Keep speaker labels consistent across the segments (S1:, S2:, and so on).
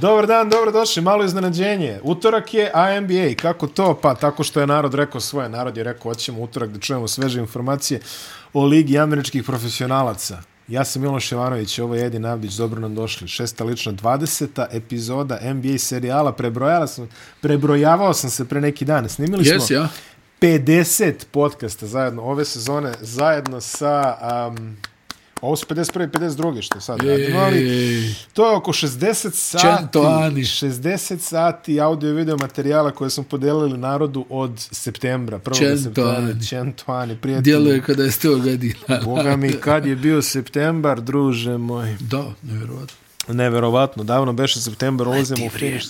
S1: Dobar dan, dobro došli, malo iznenađenje. Utorak je ANBA, kako to? Pa tako što je narod rekao svoje, narod je rekao hoćemo utorak da čujemo sveže informacije o Ligi američkih profesionalaca. Ja sam Miloš Jovanović, ovo je Edin Avdić, dobro nam došli. Šesta lična 20. epizoda NBA serijala, prebrojala sam, prebrojavao sam se pre neki dan, snimili smo...
S2: Jes, ja.
S1: 50 podcasta zajedno ove sezone, zajedno sa... Um, ovo su 51. i 52. što sad radimo, ali
S2: Ej,
S1: to je oko 60 sati,
S2: Čento ani.
S1: 60 sati audio i video materijala koje smo podelili narodu od septembra, 1.
S2: Čento
S1: septembra,
S2: ani.
S1: Čento Ani, prijatelji.
S2: djeluje kada je 100 godina.
S1: Boga mi, kad je bio septembar, druže moj.
S2: Da, nevjerovatno.
S1: Neverovatno, davno beše septembar, ulazimo u finish.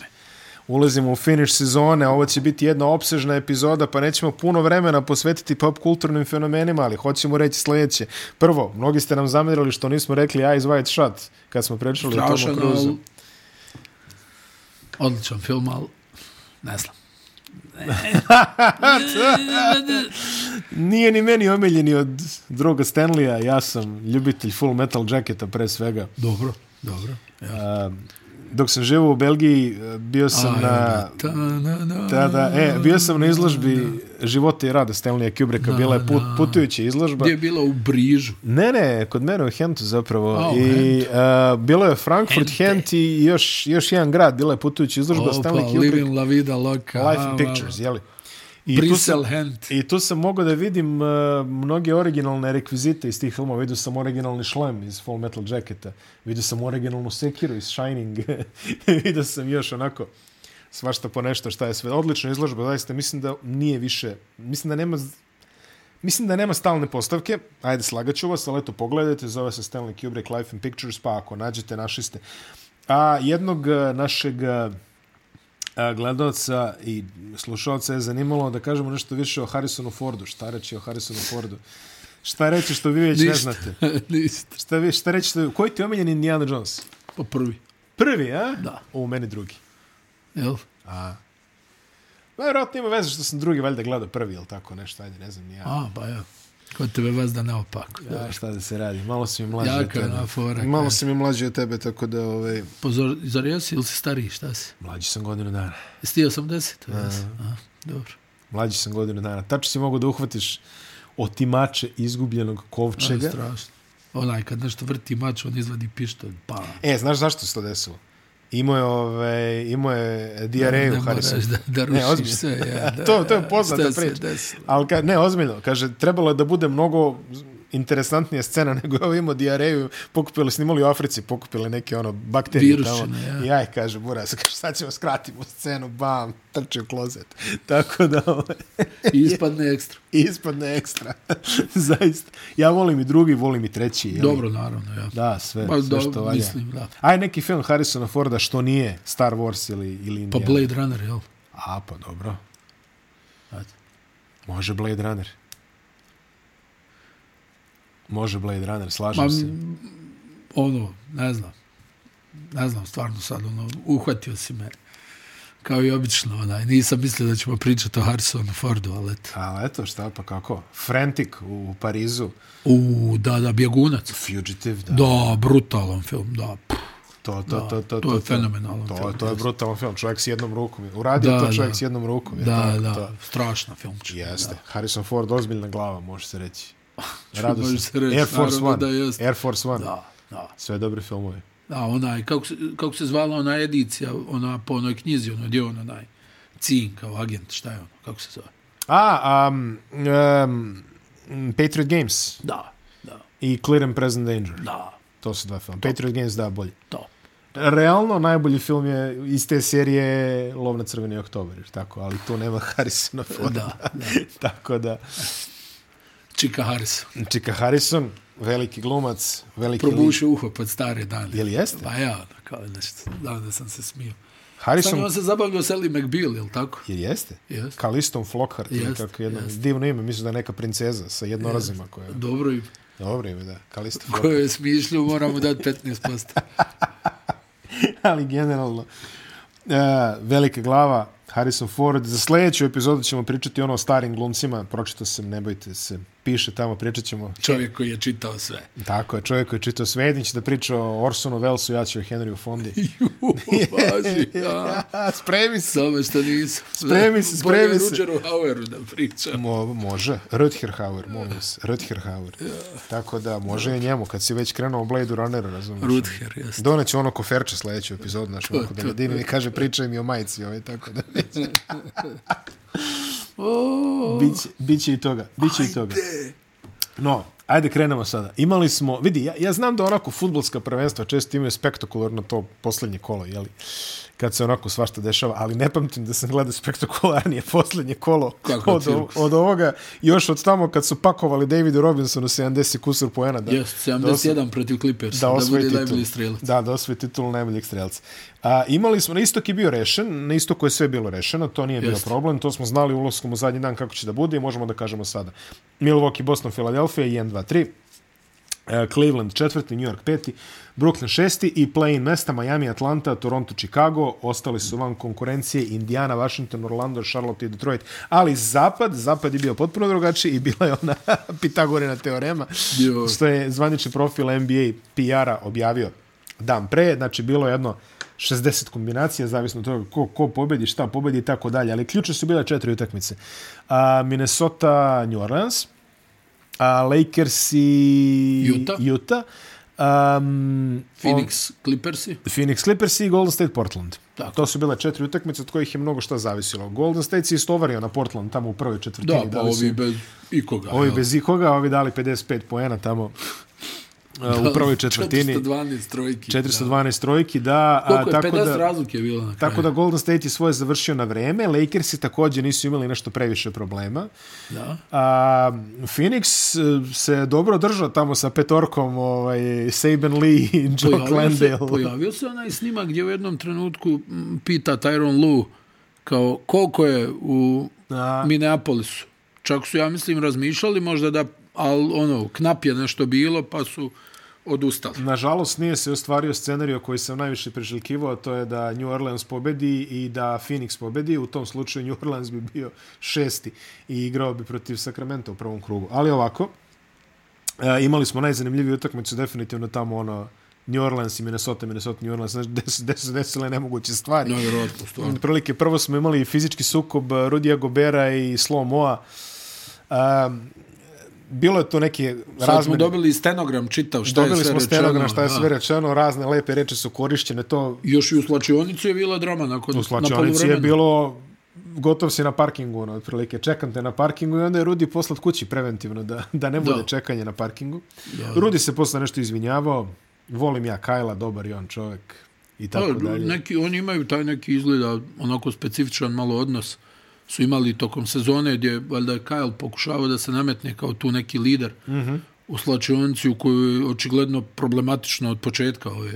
S1: Ulazimo u finish sezone, ovo će biti jedna opsežna epizoda, pa nećemo puno vremena posvetiti pop kulturnim fenomenima, ali hoćemo reći sljedeće. Prvo, mnogi ste nam zamjerili što nismo rekli Eyes Wide Shut, kad smo pričali o Tomu
S2: Strašan,
S1: Cruise.
S2: ali... Odličan film, ali ne znam.
S1: Nije ni meni omiljeni od druga Stanleya, ja sam ljubitelj Full Metal Jacketa pre svega.
S2: Dobro, dobro. Ja.
S1: Dok sam živao u Belgiji, bio sam
S2: Aj,
S1: na...
S2: ta, na, na,
S1: Da, da, e, bio sam na izložbi života i rada Stanleya Kubricka, bila je put, putujuća izložba.
S2: Gdje je bila u Brižu.
S1: Ne, ne, kod mene u Hentu zapravo.
S2: A, u
S1: I uh, bilo je Frankfurt, Hent i još, još jedan grad, bila je putujuća izložba
S2: Opa,
S1: Stanley Kubrick,
S2: Living La Vida Loca.
S1: Life in Pictures, jeli? I tu, sam,
S2: Brisel Hand.
S1: I tu sam mogao da vidim uh, mnoge originalne rekvizite iz tih filmova. Vidio sam originalni šlem iz Full Metal Jacketa, vidio sam originalnu sekiru iz Shining, vidio sam još onako svašta po nešto šta je sve. Odlična izložba, zaista mislim da nije više, mislim da nema Mislim da nema stalne postavke, ajde slagaću vas, ali eto pogledajte, zove se Stanley Kubrick Life and Pictures, pa ako nađete, našli ste. A jednog e, našeg e, gledalca i slušalca je zanimalo da kažemo nešto više o Harrisonu Fordu. Šta reći o Harrisonu Fordu? Šta reći što vi već ne
S2: Ništa.
S1: znate?
S2: Ništa.
S1: Šta, vi, šta reći što... Koji ti je omiljen Indiana Jones?
S2: Po prvi.
S1: Prvi, a?
S2: Da.
S1: U meni drugi.
S2: Jel?
S1: Ma, Vjerojatno ima veze što sam drugi valjda gledao prvi, ili tako nešto, ajde, ne znam, ni ja.
S2: A, pa ja. Kod tebe vas da ne opako.
S1: Ja, šta da se radi, malo si mi mlađi od
S2: Jaka je
S1: tebe.
S2: ona fora,
S1: Malo
S2: kaj.
S1: si mi mlađi od tebe, tako da, ovaj,
S2: Pozor, zar jesi ili si stariji, šta si?
S1: mlađi sam godinu dana.
S2: Jesi ti 80? Jesi? A, dobro.
S1: Mlađi sam godinu dana. Tačno si mogu da uhvatiš otimače izgubljenog
S2: Čega?
S1: kovčega.
S2: Pa, Strašno. Onaj kad nešto vrti mač, on izvadi pištolj, pa...
S1: E, znaš zašto se to desilo? Imao je, ove, imao je
S2: Ne
S1: diareju
S2: moraš
S1: Harrison.
S2: da,
S1: Ne,
S2: da rušiš
S1: E, ozbiljno.
S2: sve. Ja, da,
S1: To- to je poznata
S2: Šta se
S1: priča.
S2: desilo?
S1: Ali ka, ne, ozbiljno, kaže, trebalo je da bude mnogo interesantnija scena nego je ovo imao diareju, pokupili, snimali u Africi, pokupili neke ono bakterije
S2: Virušine,
S1: tamo.
S2: ja.
S1: I aj, kaže, buras, kaže, sad ćemo skratimo scenu, bam, trči u klozet. Tako da, ovaj,
S2: I ispadne ekstra.
S1: ispadne ekstra. Zaista. Ja volim i drugi, volim i treći. Jel?
S2: Dobro, naravno, ja.
S1: Da, sve,
S2: Pa,
S1: sve
S2: do-
S1: što valja.
S2: mislim, da.
S1: Aj neki film Harrisona Forda što nije Star Wars ili, ili
S2: Pa
S1: Indiana.
S2: Blade Runner, jel?
S1: A, pa dobro.
S2: Ajde.
S1: Može Blade Runner. Može Blade Runner, slažem
S2: Ma,
S1: se.
S2: m, ono, ne znam. Ne znam, stvarno sad, ono, uhvatio si me. Kao i obično, onaj. Nisam mislio da ćemo pričati o Harrisonu Fordu, ali eto.
S1: Ali eto, šta pa kako? Frantic u Parizu.
S2: U, da, da, Bjegunac.
S1: Fugitive, da.
S2: Da, brutalan film, da. Pff,
S1: To, to, to, to, to,
S2: to je fenomenalan
S1: to,
S2: film,
S1: To je brutalan film. Čovjek s jednom rukom. Uradio
S2: Da,
S1: to čovjek
S2: da.
S1: s jednom rukom. je
S2: Da,
S1: tako, To.
S2: da, strašna filmčina.
S1: Jeste. Da. Harrison Ford, ozbiljna glava, može se reći. Rado
S2: Može
S1: se.
S2: se reći,
S1: Air Force
S2: naravno
S1: One.
S2: da jeste.
S1: Air Force One. Da.
S2: Da, da.
S1: Sve dobre filmove.
S2: Da, onaj, kako se, kako se zvala ona edicija, ona po onoj knjizi, ono, gdje je on onaj cin kao agent, šta je ono, kako se zove?
S1: A, um, um, Patriot Games
S2: Da, da,
S1: i Clear and Present Danger.
S2: da,
S1: To su dva filma. Patriot Games, da, bolji.
S2: to.
S1: Realno, najbolji film je iz te serije Lov na crveni oktober, jer tako, ali tu nema Harrisona Forda.
S2: Da, da.
S1: tako da,
S2: Čika Harrison.
S1: Čika Harrison, veliki glumac, veliki lik.
S2: Probušio uho pod stare dane.
S1: Je li jeste?
S2: Pa ja, ono, kao nešto, da, onda sam se smio. Sam
S1: Harrison,
S2: on se zabavljao s Ellie McBeal, jel tako?
S1: jer jeste?
S2: Jeste.
S1: Kaliston Flockhart, ili
S2: Jeste,
S1: kako jedno, divno ime, mislim da je neka princeza sa jednorazima koja je.
S2: Dobro i
S1: Dobro ime, da, Kaliston Flockhart.
S2: koje je smišljio, moramo dati 15%.
S1: ali generalno, e, velika glava, Harrison Ford. Za sljedeću epizodu ćemo pričati ono o starim glumcima. Pročitao sam, ne bojte se. Piše tamo, pričat ćemo.
S2: Čovjek koji je čitao sve.
S1: Tako je, čovjek koji je čitao sve. Jedin će da priča o Orsonu Wellesu, ja ću o Henryu Fondi.
S2: Ju, važi, ja.
S1: Spremi se.
S2: Samo što nisam.
S1: Spremi se, spremi
S2: Bolje
S1: se.
S2: Ruđeru Haueru da pričam.
S1: Mo, može. Rutherhauer, molim vas. Rutherhauer. Tako da, može i njemu. Kad si već krenuo u Blade Runneru, razumiješ.
S2: Ruther, jeste.
S1: Doneću ono koferče sljedeću epizodu naš Marko
S2: to,
S1: Benedini mi kaže pričaj mi o majici ovaj, tako da
S2: O,
S1: biće, biće i toga, biće i toga.
S2: Ajde.
S1: No, ajde krenemo sada. Imali smo, vidi, ja, ja znam da onako futbolska prvenstva često imaju spektakularno to posljednje kolo, jeli? Kad se onako svašta dešava, ali ne pamtim da sam gledao spektakularnije posljednje kolo
S2: Kako
S1: od, o-
S2: cirkus.
S1: od ovoga, još od tamo kad su pakovali Davidu Robinsonu 70 kusur poena. Da,
S2: Jest,
S1: da osvoji-
S2: 71 protiv Clippers.
S1: da
S2: Da,
S1: osvoji
S2: bude
S1: titul.
S2: najbolji strelac.
S1: Da, da osvoji titul najboljeg strelca. A, imali smo, na istok je bio rešen, na istoku je sve bilo rešeno, to nije bio
S2: Jeste.
S1: problem, to smo znali ulaskom u zadnji dan kako će da bude i možemo da kažemo sada. Milwaukee, Boston, Philadelphia, 1, 2, 3. E, Cleveland četvrti, New York peti, Brooklyn šesti i play-in mesta Miami, Atlanta, Toronto, Chicago. Ostali su van konkurencije Indiana, Washington, Orlando, Charlotte i Detroit. Ali zapad, zapad je bio potpuno drugačiji i bila je ona Pitagorina teorema
S2: Bio.
S1: što je zvanični profil NBA PR-a objavio dan pre, znači bilo je jedno 60 kombinacija, zavisno od toga ko, ko pobedi, šta pobedi i tako dalje, ali ključne su bile četiri utakmice. A, Minnesota, New Orleans, a, Lakers i
S2: Utah.
S1: Utah um,
S2: Phoenix Clippersi.
S1: Phoenix Clippers i Golden State Portland.
S2: Tako.
S1: To su bile četiri utakmice od kojih je mnogo šta zavisilo. Golden State se istovario na Portland tamo u prvoj četvrtini.
S2: Da, pa
S1: dali su
S2: ovi bez ikoga.
S1: Ovi
S2: jel?
S1: bez ikoga, ovi dali 55 poena tamo uh, u prvoj četvrtini.
S2: 412 trojki.
S1: 412 trojki, da.
S2: Da. Koliko je,
S1: tako
S2: 50
S1: da,
S2: razlike je bilo na kraju.
S1: tako da Golden State je svoje završio na vreme. Lakersi također nisu imali nešto previše problema.
S2: Da.
S1: A, Phoenix eh, se dobro držao tamo sa petorkom ovaj, Saban Lee i Joe
S2: Pojavio se,
S1: Clandale.
S2: pojavio se onaj snimak gdje u jednom trenutku m, pita Tyron Lu kao koliko je u
S1: Da.
S2: Minneapolisu. Čak su, ja mislim, razmišljali možda da, ali ono, knap je nešto bilo pa su odustali.
S1: Nažalost, nije se ostvario scenariju koji sam najviše priželjkivao, a to je da New Orleans pobedi i da Phoenix pobedi. U tom slučaju New Orleans bi bio šesti i igrao bi protiv Sacramento u prvom krugu. Ali ovako, e, imali smo najzanimljiviju utakmicu, definitivno tamo ono New Orleans i Minnesota, Minnesota, New Orleans, znaš, gde su- gde su desile nemoguće stvari.
S2: No, vjerojatno, stvarno.
S1: Prilike, prvo smo imali fizički sukob eh, Rudija Gobera i Slo Moa. Um, bilo je to neke
S2: Sad smo
S1: razmene.
S2: dobili stenogram čitav šta je
S1: Dobili
S2: sve
S1: smo
S2: rečeno.
S1: stenogram šta je sve
S2: da.
S1: rečeno, razne lepe reči su korišćene, to
S2: Još i u slačionicu je bila drama nakon,
S1: u
S2: na
S1: slačionici je
S2: polovremenu.
S1: bilo gotov si na parkingu, ono, otprilike, čekam te na parkingu i onda je Rudi poslat kući preventivno da, da ne bude
S2: Da.
S1: čekanje na parkingu.
S2: Da, da.
S1: Rudi se posle nešto izvinjavao, volim ja Kajla, dobar je on čovek i tako
S2: Da,
S1: dalje.
S2: Neki, oni imaju taj neki izgleda onako specifičan malo odnos su imali tokom sezone gdje je, valjda je Kyle pokušavao da se nametne kao tu neki lider mm
S1: Mhm.
S2: -hmm. u slačionici u koju je očigledno problematično od početka ove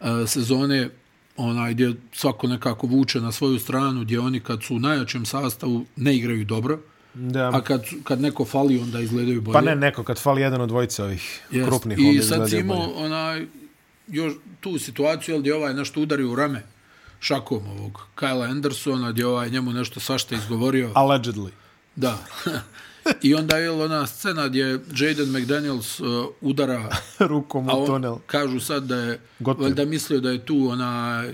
S2: e, sezone onaj gdje svako nekako vuče na svoju stranu gdje oni kad su u najjačem sastavu ne igraju dobro
S1: Da.
S2: a kad, su- kad neko fali onda izgledaju bolje
S1: Pa ne, neko, kad fali jedan od dvojice ovih
S2: Jest.
S1: krupnih,
S2: I
S1: onda
S2: sad si
S1: izgledaju
S2: imao
S1: bolje.
S2: onaj, još tu situaciju, jel, gdje ovaj nešto udari u rame šakom ovog Kyla Andersona, gdje ovaj njemu nešto svašta izgovorio.
S1: Allegedly.
S2: Da. I onda je jel, ona scena gdje Jaden McDaniels uh, udara,
S1: Rukom
S2: a
S1: u
S2: on,
S1: tunel.
S2: kažu sad da je,
S1: Gotov.
S2: valjda mislio da je tu onaj,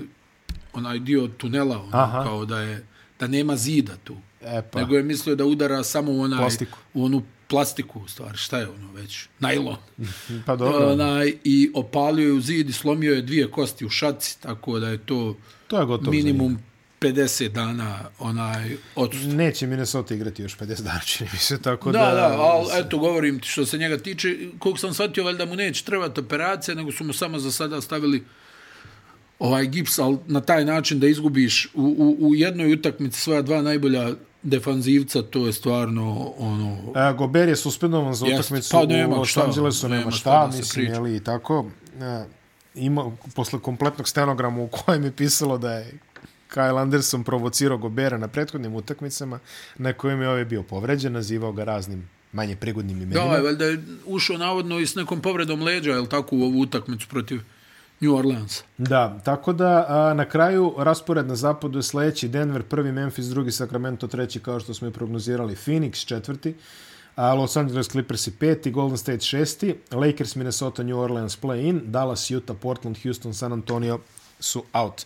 S2: onaj dio tunela, ono,
S1: Aha.
S2: kao da je, da nema zida tu.
S1: E
S2: Pa.
S1: pa.
S2: Nego je mislio da udara samo u onaj,
S1: Plastiku.
S2: u onu plastiku, u stvari, šta je ono već? Najlon.
S1: Pa dobro.
S2: Onaj, I opalio je u zid i slomio je dvije kosti u šaci, tako da je to
S1: To je gotovo. za njih.
S2: minimum 50 dana onaj odsustvo.
S1: Neće Minnesota igrati još 50 dana, čini mi se, tako
S2: Da,
S1: da...
S2: da, ali eto, govorim ti što se njega tiče, koliko sam shvatio, valjda mu neće trebati operacija, nego su mu samo za sada stavili ovaj gips, ali na taj način da izgubiš u, u, u jednoj utakmici svoja dva najbolja defanzivca, to je stvarno ono,
S1: E, Gober je suspendovan za
S2: Jeste,
S1: utakmicu
S2: pa nema
S1: u Los
S2: šta,
S1: Angelesu, nema,
S2: nema šta
S1: šta,
S2: da se
S1: mislim,
S2: priča.
S1: jeli, i tako. E, ima, posle kompletnog stenograma u kojem je pisalo da je Kyle Anderson provocirao Gobera na prethodnim utakmicama, na kojem je ovaj bio povređen, nazivao ga raznim manje prigodnim
S2: Da,
S1: imenima.
S2: ovaj, valjda je ušao navodno i s nekom povredom leđa, je li tako, u ovu utakmicu protiv New Orleansa.
S1: Da, tako da a, na kraju raspored na zapadu je sledeći Denver prvi, Memphis drugi, Sacramento treći kao što smo i prognozirali, Phoenix četvrti, a Los Angeles Clippers i peti, Golden State šesti, Lakers, Minnesota, New Orleans play-in, Dallas, Utah, Portland, Houston, San Antonio su out.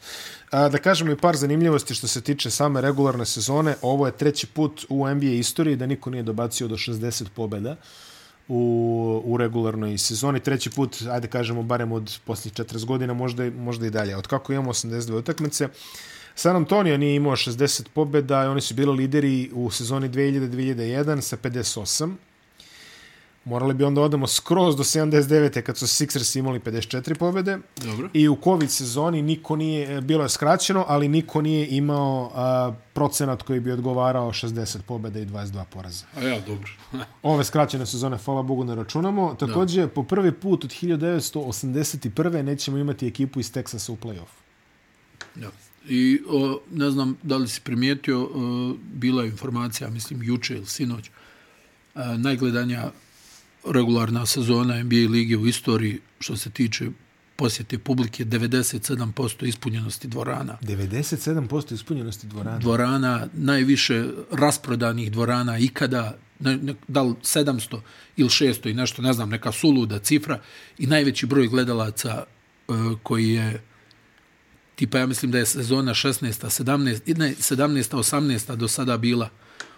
S1: A, da kažemo i par zanimljivosti što se tiče same regularne sezone. Ovo je treći put u NBA istoriji da niko nije dobacio do 60 pobjeda u, u regularnoj sezoni. Treći put, ajde kažemo, barem od posljednjih 40 godina, možda, i- možda i dalje. Od kako imamo 82 utakmice, San Antonio nije imao 60 pobjeda, oni su bili lideri u sezoni 2000-2001 sa 58. Morali bi onda odemo skroz do 79. kad su Sixers imali 54 pobjede.
S2: Dobro.
S1: I u COVID sezoni niko nije, bilo je skraćeno, ali niko nije imao a, procenat koji bi odgovarao 60 pobjeda i 22 poraza.
S2: A ja, dobro.
S1: Ove skraćene sezone, hvala Bogu, ne računamo. Također, po prvi put od 1981. nećemo imati ekipu iz Teksasa u play-off.
S2: da. I o, ne znam da li si primijetio, o, bila je informacija, mislim, juče ili sinoć, e, a, najgledanja regularna sezona NBA lige u istoriji što se tiče posjete publike 97% ispunjenosti dvorana.
S1: 97% ispunjenosti dvorana.
S2: dvorana, najviše rasprodanih dvorana ikada, ne, ne, da li 700 ili 600 i nešto, ne znam, neka suluda cifra i najveći broj gledalaca e, koji je tipa ja mislim da je sezona 16. 17. i ne, 17. 18. do sada bila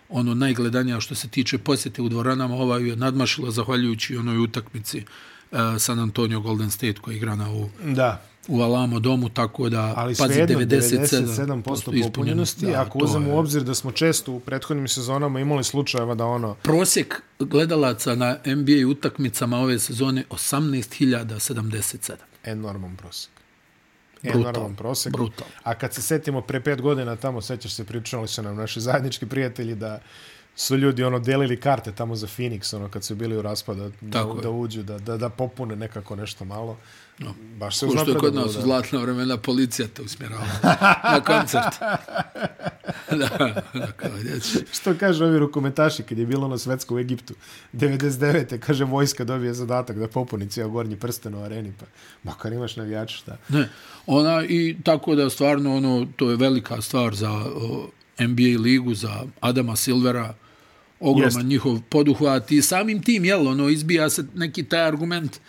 S2: ono najgledanja što se tiče posjete u dvoranama, ova ju je nadmašila zahvaljujući onoj utakmici e, San Antonio Golden State koja je igrana u,
S1: Da,
S2: u Alamo domu, tako da
S1: ali
S2: pazi
S1: svejedno
S2: 97%
S1: 97% popunjenosti.
S2: Da,
S1: Ako
S2: to
S1: uzmemo
S2: je-
S1: u obzir da smo često u prethodnim sezonama imali slučajeva da ono
S2: prosjek gledalaca na NBA utakmicama ove sezone 18.077.
S1: enorman prosek.
S2: Brutal,
S1: Enorman prosek.
S2: brutal.
S1: A kad se setimo pre pet godina tamo, sećaš se, pričali su nam naši zajednički prijatelji da su ljudi ono delili karte tamo za Phoenix, ono kad su bili u raspadu, da,
S2: Tako je.
S1: da uđu, da, da, da popune nekako nešto malo. No. Baš se
S2: Ko što je
S1: uznapredovalo,
S2: kod nas u
S1: da.
S2: zlatna vremena policija te usmjerala na koncert. da, da, kao dječi.
S1: Što kaže ovi rukometaši kad je bilo ono svetsko u Egiptu 99. kaže vojska dobije zadatak da popuni cijel gornji prsten u areni pa makar imaš navijača šta.
S2: Ne, ona i tako da stvarno ono, to je velika stvar za o, NBA ligu, za Adama Silvera, ogroman
S1: Jeste.
S2: njihov poduhvat i samim tim, jel, ono, izbija se neki taj argument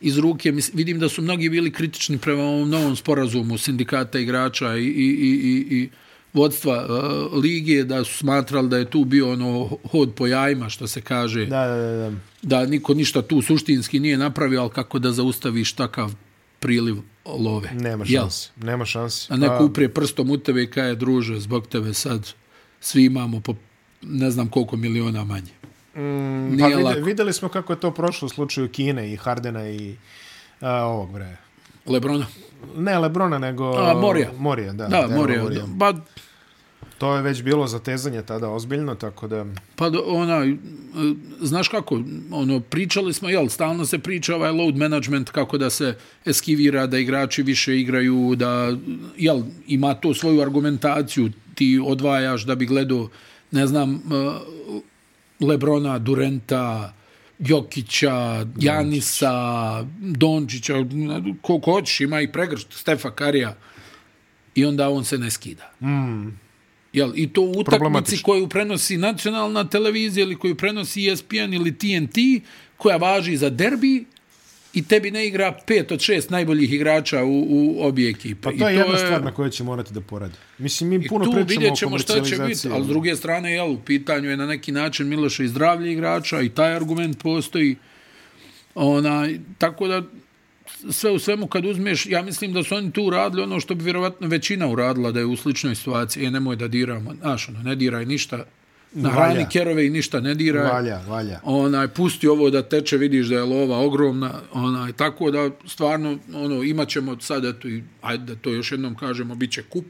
S2: iz ruke. Mislim, vidim da su mnogi bili kritični prema ovom novom sporazumu sindikata igrača i, i, i, i, i vodstva e, lige, da su smatrali da je tu bio ono hod po jajima, što se kaže
S1: Da, da, da, da.
S2: da niko ništa tu suštinski nije napravio, ali kako da zaustaviš takav priliv love.
S1: Nema
S2: Jel?
S1: šanse. Pa- Nema šanse.
S2: A neko upre prstom u tebe i kaje, druže, zbog tebe sad svi imamo po ne znam koliko miliona manje. Mm,
S1: Pa
S2: nije
S1: vide,
S2: lako.
S1: videli smo kako je to prošlo u slučaju Kine i Hardena i a, ovog bre.
S2: Lebrona.
S1: Ne Lebrona, nego...
S2: A, Morija.
S1: Morija, da.
S2: Da, pa,
S1: Daryl
S2: Morija.
S1: Morija.
S2: da. Ba,
S1: To je već bilo zatezanje tada ozbiljno, tako da...
S2: Pa do- ona, e, znaš kako, ono, pričali smo, jel, stalno se priča ovaj load management, kako da se eskivira, da igrači više igraju, da, jel, ima to svoju argumentaciju, ti odvajaš da bi gledao, ne znam, e, Lebrona, Durenta, Jokića, Janisa, Dončića, koliko hoćeš, ima i pregršt, Stefa Karija, i onda on se ne skida. Jel, I to u utakmici
S1: Mm. Problematično.
S2: koju prenosi nacionalna televizija ili koju prenosi E ESPN ili TNT, koja važi za derbi i tebi ne igra pet od šest najboljih igrača u, u obje ekipe.
S1: Pa to, je jedna stvar na kojoj će morati da poradi. Mislim, mi puno
S2: tu
S1: pričamo
S2: vidjet
S1: o
S2: ćemo šta će biti,
S1: komercijalizaciji. ono.
S2: ali s druge strane, jel, u pitanju je na neki način Miloša i zdravlje igrača i taj argument postoji. Ona, tako da, sve u svemu kad uzmeš, ja mislim da su oni tu uradili ono što bi vjerovatno većina uradila da je u sličnoj situaciji, e, nemoj da diramo, znaš, ono, ne diraj ništa, na
S1: Valja.
S2: hrani kerove i ništa ne diraj.
S1: Valja, valja.
S2: Onaj, pusti ovo da teče, vidiš da je lova ogromna, onaj, tako da stvarno, ono, imaćemo sad, eto, i, ajde da to još jednom kažemo, bit će kup,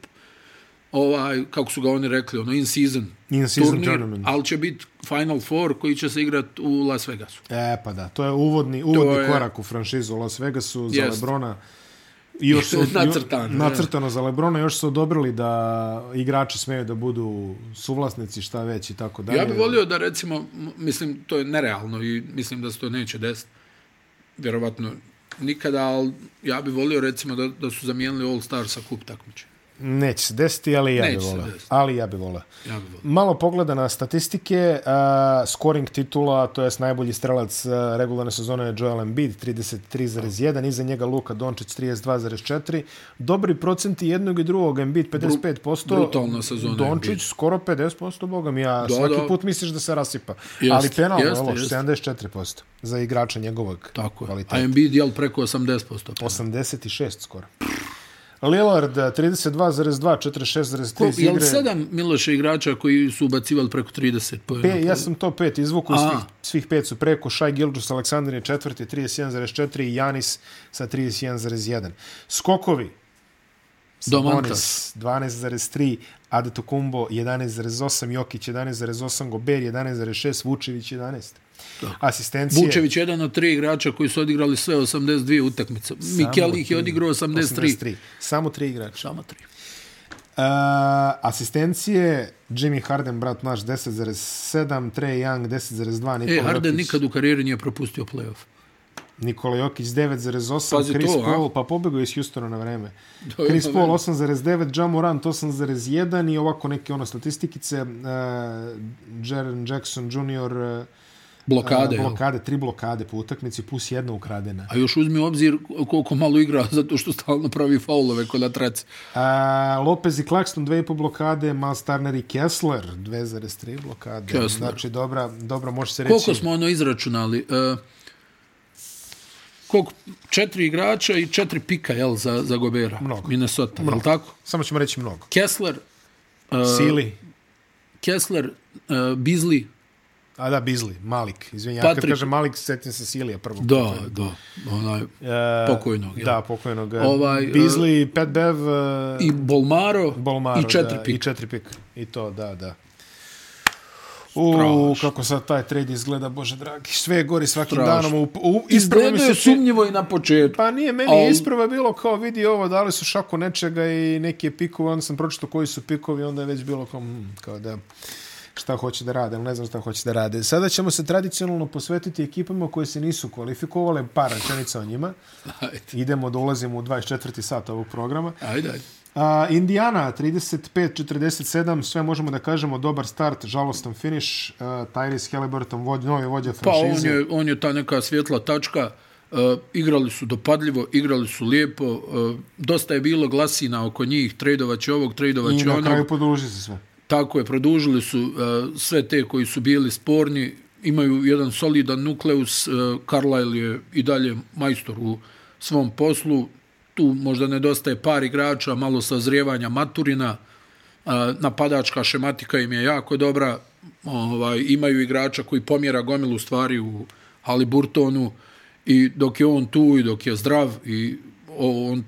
S2: ovaj, kako su ga oni rekli, ono, in season,
S1: In season tournament.
S2: ali će biti Final Four koji će se igrati u Las Vegasu.
S1: E, pa da, to je uvodni, uvodni
S2: je-
S1: korak u franšizu Las Vegasu za
S2: Jest.
S1: Lebrona. I Još su,
S2: Nacrtano,
S1: nacrtano za Lebrona, još su odobrili da igrači smeju da budu suvlasnici, šta već i tako dalje.
S2: Ja bih volio da recimo, m- mislim, to je nerealno i mislim da se to neće desiti. Vjerovatno nikada, ali ja bi volio recimo da, da su zamijenili All Star sa kup takmiče.
S1: Neće se desiti, ali ja
S2: Neće
S1: bi
S2: se
S1: volao.
S2: desiti.
S1: Ali ja bi volao.
S2: Ja bi volio.
S1: Malo pogleda na statistike, uh, scoring titula, to jest najbolji strelac uh, regularne sezone je Joel Embiid, 33,1, iza njega Luka Dončić, 32,4. Dobri procenti jednog i drugog, Embiid 55%,
S2: brutalna sezona
S1: Dončić
S2: Embiid.
S1: skoro 50%, boga mi, ja
S2: Da,
S1: svaki
S2: da.
S1: put misliš da se rasipa.
S2: Jeste,
S1: Ali penal je
S2: jeste,
S1: loš,
S2: jeste.
S1: 74% za igrača njegovog
S2: Tako je.
S1: kvaliteta.
S2: A Embiid je preko 80%.
S1: 86 skoro. Lillard eh, 32,2, 46,3 iz
S2: Jel
S1: igre.
S2: sedam Miloše igrača koji su ubacivali preko 30 pojena?
S1: Pe, ja sam to pet izvuku,
S2: A.
S1: svih, svih pet su preko. Shai Gilgis, Aleksandar je četvrti, 31,4 i Janis sa 31,1. Skokovi,
S2: Domantas.
S1: Sabonis 12,3, Adetokumbo 11,8, Jokić 11,8, Gober 11,6, Vučević 11.
S2: Tako.
S1: Asistencije.
S2: Vučević je jedan od tri igrača koji su odigrali sve 82 utakmice. Mikel ih je odigrao 83.
S1: 83. Samo tri igrača.
S2: Samo tri.
S1: Uh, asistencije, Jimmy Harden, brat naš, 10,7, Trey Young, 10,2, Nikola
S2: E, Harden
S1: Jokić,
S2: nikad u karijeri nije propustio playoff.
S1: Nikola Jokić 9,8,
S2: Pazi
S1: Chris
S2: to, a?
S1: Paul, pa pobegao je iz Houstona na vreme.
S2: To je ono
S1: Chris
S2: na
S1: Paul
S2: vreme.
S1: 8,9, Ja Morant 8,1 i ovako neke ono statistikice, uh, Jaren Jackson Jr., uh,
S2: Blokade. jel?
S1: blokade, tri blokade po utakmici, plus jedna ukradena.
S2: A još uzmi u obzir koliko malo igra zato što stalno pravi faulove kod atraci.
S1: A, Lopez i Claxton 2,5 blokade, Miles Turner i Kessler 2,3 blokade.
S2: Kessler.
S1: Znači, dobra, dobro, može se reći...
S2: Koliko smo ono izračunali? E, koliko? Četiri igrača i četiri pika, jel, za, za Gobera?
S1: Mnogo.
S2: Minnesota, jel tako?
S1: Samo ćemo reći mnogo.
S2: Kessler, e,
S1: Sili,
S2: Kessler, e, Beasley,
S1: a da, Bizli, Malik, izvinjam, kad
S2: Patrick-
S1: kažem Malik, setim se Silija prvog.
S2: da, da, onaj,
S1: E,
S2: pokojnog, jel?
S1: Da, pokojnog.
S2: Ovaj,
S1: Ovaj,
S2: e,
S1: Bizli, Pat Bev, i
S2: i Bolmaro,
S1: Bolmaro.
S2: i četiri
S1: da, I
S2: pika.
S1: četiri pik. I to, da, da. U,
S2: Strašno.
S1: kako sad taj trade izgleda, bože dragi, sve je gori svakim
S2: Strašno.
S1: danom. U, u, ispravo mi
S2: Izgledao
S1: se
S2: je
S1: sum...
S2: sumnjivo i na početku.
S1: Pa nije, meni
S2: Al-
S1: je isprava bilo kao vidi ovo, dali su šaku nečega i neki je pikovi, onda sam pročito koji su pikovi, onda je već bilo kao, hmm, kao da šta hoće da rade, ali ne znam šta hoće da rade. Sada ćemo se tradicionalno posvetiti ekipama koje se nisu kvalifikovale, par rečenica o njima.
S2: Ajde,
S1: Idemo da ulazimo u 24. sat ovog programa.
S2: ajde, ajde.
S1: A, Indiana 35-47, sve možemo da kažemo dobar start, žalostan finish. Uh, Tyrese Halliburton, vođ, novi vođa
S2: Pa
S1: franšize.
S2: on je, on je ta neka svjetla tačka. Uh, igrali su dopadljivo, igrali su lijepo. Uh, dosta je bilo glasina oko njih, tradovaće ovog,
S1: I
S2: tradovaće
S1: na
S2: onog.
S1: kraju podruži se sve.
S2: Tako je, produžili su uh, sve te koji su bili sporni, imaju jedan solidan nukleus, uh, Carlisle je i dalje majstor u svom poslu, tu možda nedostaje par igrača, malo sazrijevanja Maturina, uh, napadačka šematika im je jako dobra, ovaj, imaju igrača koji pomjera gomilu stvari u Haliburtonu i dok je on tu i dok je zdrav i o, on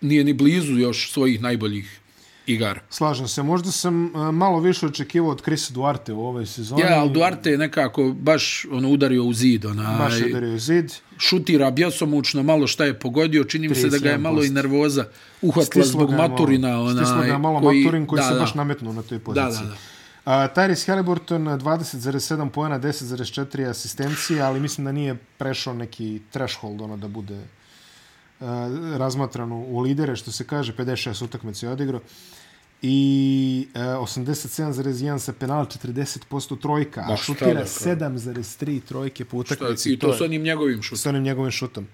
S2: nije ni blizu još svojih najboljih igara.
S1: Slažem se, možda sam uh, malo više očekivao od Chris Duarte u ovoj sezoni.
S2: Ja, ali Duarte je nekako baš ono, udario u zid, onaj,
S1: Baš je udario u zid.
S2: šutira bjesomučno, malo šta je pogodio, čini mi se da ga je malo i
S1: 37%.
S2: nervoza uhvatila
S1: Stislo
S2: zbog
S1: ga je malo-
S2: Maturina. Onaj,
S1: Stislo ga je malo koji, Maturin koji da, se baš nametnuo na toj
S2: da,
S1: poziciji.
S2: da, da.
S1: A, Tyrese Halliburton 20,7 pojena, 10,4 asistencije, ali mislim da nije prešao neki threshold ono da bude a, razmatran u- u lidere, što se kaže, 56 utakmice je odigrao i e, 87,1 sa penal, 40% trojka, a
S2: Ma šta da,
S1: šutira
S2: kao?
S1: 7,3 trojke po utakmici.
S2: pa. I to,
S1: je-
S2: s onim njegovim šutom.
S1: s onim njegovim šutom.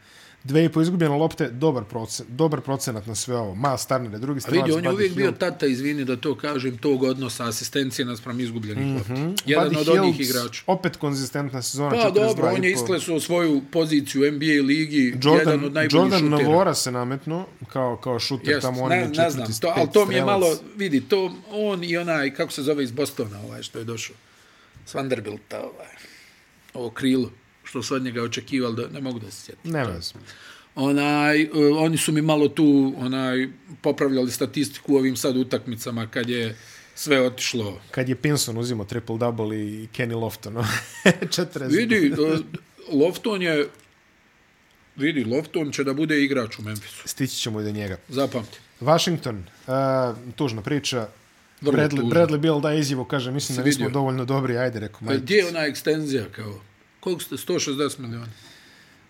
S1: Dve i po izgubljene lopte, dobar, procen, dobar procenat na sve ovo. Ma, Starner je drugi
S2: A
S1: strelac.
S2: vidi, on je
S1: Buddy
S2: uvijek
S1: Hield.
S2: bio tata, izvini da to kažem, tog odnosa asistencije naspram izgubljenih mm -hmm. lopti.
S1: Buddy
S2: Jedan od onih
S1: Hield,
S2: igrača.
S1: Opet konzistentna sezona.
S2: Pa
S1: 42
S2: dobro, on
S1: i
S2: je
S1: po.
S2: isklesao svoju poziciju u NBA ligi, jedan
S1: Jordan,
S2: od najboljih
S1: Jordan
S2: šutera.
S1: Novora se nametnuo kao, kao šuter
S2: Jest,
S1: tamo on
S2: ne,
S1: je
S2: ne znam,
S1: četvrti
S2: to,
S1: pet
S2: ali to mi je
S1: strelac.
S2: malo, vidi, to on i onaj, kako se zove iz Bostona ovaj što je došao, s Vanderbilta ovaj, ovo krilo, što su od njega očekivali, da, ne mogu da se sjetim.
S1: Ne vez.
S2: Onaj, e, oni su mi malo tu onaj, popravljali statistiku u ovim sad utakmicama kad je sve otišlo.
S1: Kad je Pinson uzimao triple-double i Kenny Lofton. ono, 40.
S2: Vidi, e, Lofton je, vidi, Lofton će da bude igrač u Memphisu,
S1: Stići ćemo i do njega.
S2: zapamti.
S1: Washington, uh, tužna priča.
S2: Vrlo
S1: Bradley,
S2: tužna.
S1: Bradley Bill daje izjavu, kaže, mislim da nismo
S2: vidio.
S1: dovoljno dobri, ajde, rekao,
S2: Pa
S1: majke.
S2: gdje je ona ekstenzija kao? Koliko ste? 160 miliona.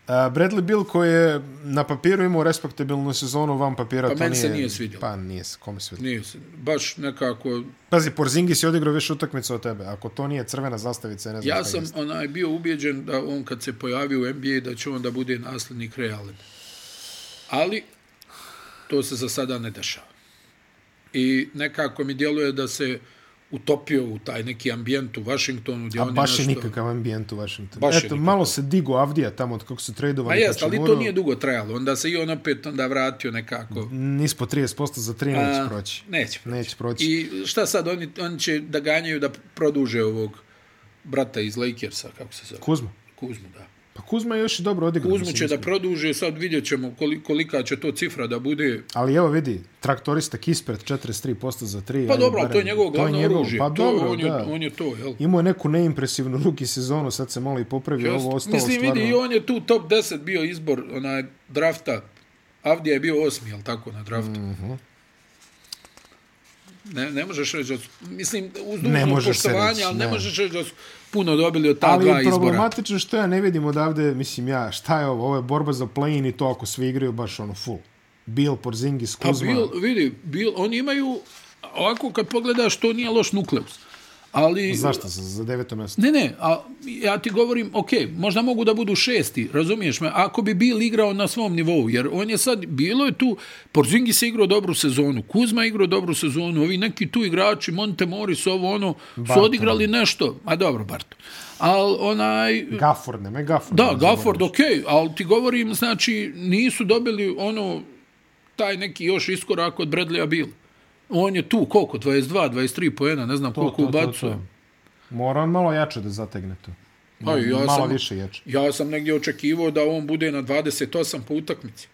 S1: A, Bradley Bill koji je na papiru imao respektabilnu sezonu van papira,
S2: Pa
S1: to
S2: meni
S1: nije...
S2: se nije svidjelo.
S1: Pa nije se, kome se svidjelo.
S2: Nije se, baš nekako,
S1: Pazi, Porzingis je odigrao više utakmica od tebe. Ako to nije crvena zastavica, ja ne znam
S2: ja
S1: šta
S2: sam
S1: jeste.
S2: onaj bio ubijeđen da on kad se pojavi u NBA da će on da bude naslednik Realen. Ali, to se za sada ne dešava. I nekako mi djeluje da se utopio u taj neki ambijent u Washingtonu gdje
S1: A
S2: oni
S1: baš je
S2: nešto...
S1: nikakav ambijent u Washingtonu.
S2: Baš je
S1: Eto,
S2: nikakav.
S1: malo se digo Avdija tamo od kako su
S2: Pa
S1: tradovali.
S2: jest, ali to
S1: Hachimuru.
S2: nije dugo trajalo. Onda se i on opet onda vratio nekako.
S1: Nispod 30% za 3
S2: A,
S1: neće proći.
S2: Neće.
S1: Neće proći.
S2: I šta sad, oni, oni će da ganjaju da produže ovog brata iz Lakersa, kako se zove?
S1: Kuzma.
S2: Kuzmu, da.
S1: Pa Kuzma je još i dobro odigrao.
S2: Kuzmu
S1: mislim,
S2: će da
S1: iskreno.
S2: produže, sad vidjet ćemo koli, kolika će to cifra da bude.
S1: Ali evo vidi, traktorista Kispert 43% za 3.
S2: Pa dobro, ali to je njegovo glavno oružje.
S1: Pa
S2: to,
S1: dobro,
S2: on, je,
S1: da.
S2: on je to, jel?
S1: Imao je neku neimpresivnu ruki sezonu, sad se malo i popravio,
S2: Jest.
S1: ovo ostalo
S2: Mislim,
S1: stvarno...
S2: vidi, i on je tu top 10 bio izbor onaj, drafta. Avdija je bio osmi, jel tako, na draftu. Mm
S1: Mhm.
S2: -hmm. Ne, ne možeš reći da su, mislim, uz
S1: Ne
S2: dužno
S1: možeš se
S2: poštovanje,
S1: reći,
S2: ali ne.
S1: ne.
S2: možeš reći da su puno dobili od ta
S1: Ali
S2: dva
S1: je
S2: izbora.
S1: problematično što ja ne vidim odavde, mislim ja, šta je ovo, ovo je borba za play-in i to ako svi igraju baš ono full. Bill, Porzingis,
S2: Pa
S1: Kuzma.
S2: bil, vidi, bil, oni imaju, ovako kad pogledaš, to nije loš nukleus. Ali,
S1: Zašto? Za, za deveto mjesto?
S2: Ne, ne, a ja ti govorim, ok, možda mogu da budu šesti, razumiješ me, ako bi Bil igrao na svom nivou, jer on je sad, bilo je tu, Porzingis je igrao dobru sezonu, Kuzma je igrao dobru sezonu, ovi neki tu igrači, Montemoris, ovo ono, su
S1: Barton.
S2: odigrali nešto, a dobro, Barton. Ali onaj,
S1: Gafford, ne, me Gafford. ono,
S2: Da,
S1: Ne,
S2: Gafford, okej, okay, ali ti govorim, znači, nisu dobili ono, taj neki još iskorak od Bradleya Bill. On je tu, koliko, 22, 23 poena, ne znam to, koliko
S1: to, to,
S2: ubacuje.
S1: to. Mora on malo jače da zategne to.
S2: Pa i ja
S1: malo
S2: sam-
S1: više jače.
S2: Ja sam negdje očekivao da on bude na 28 po utakmici.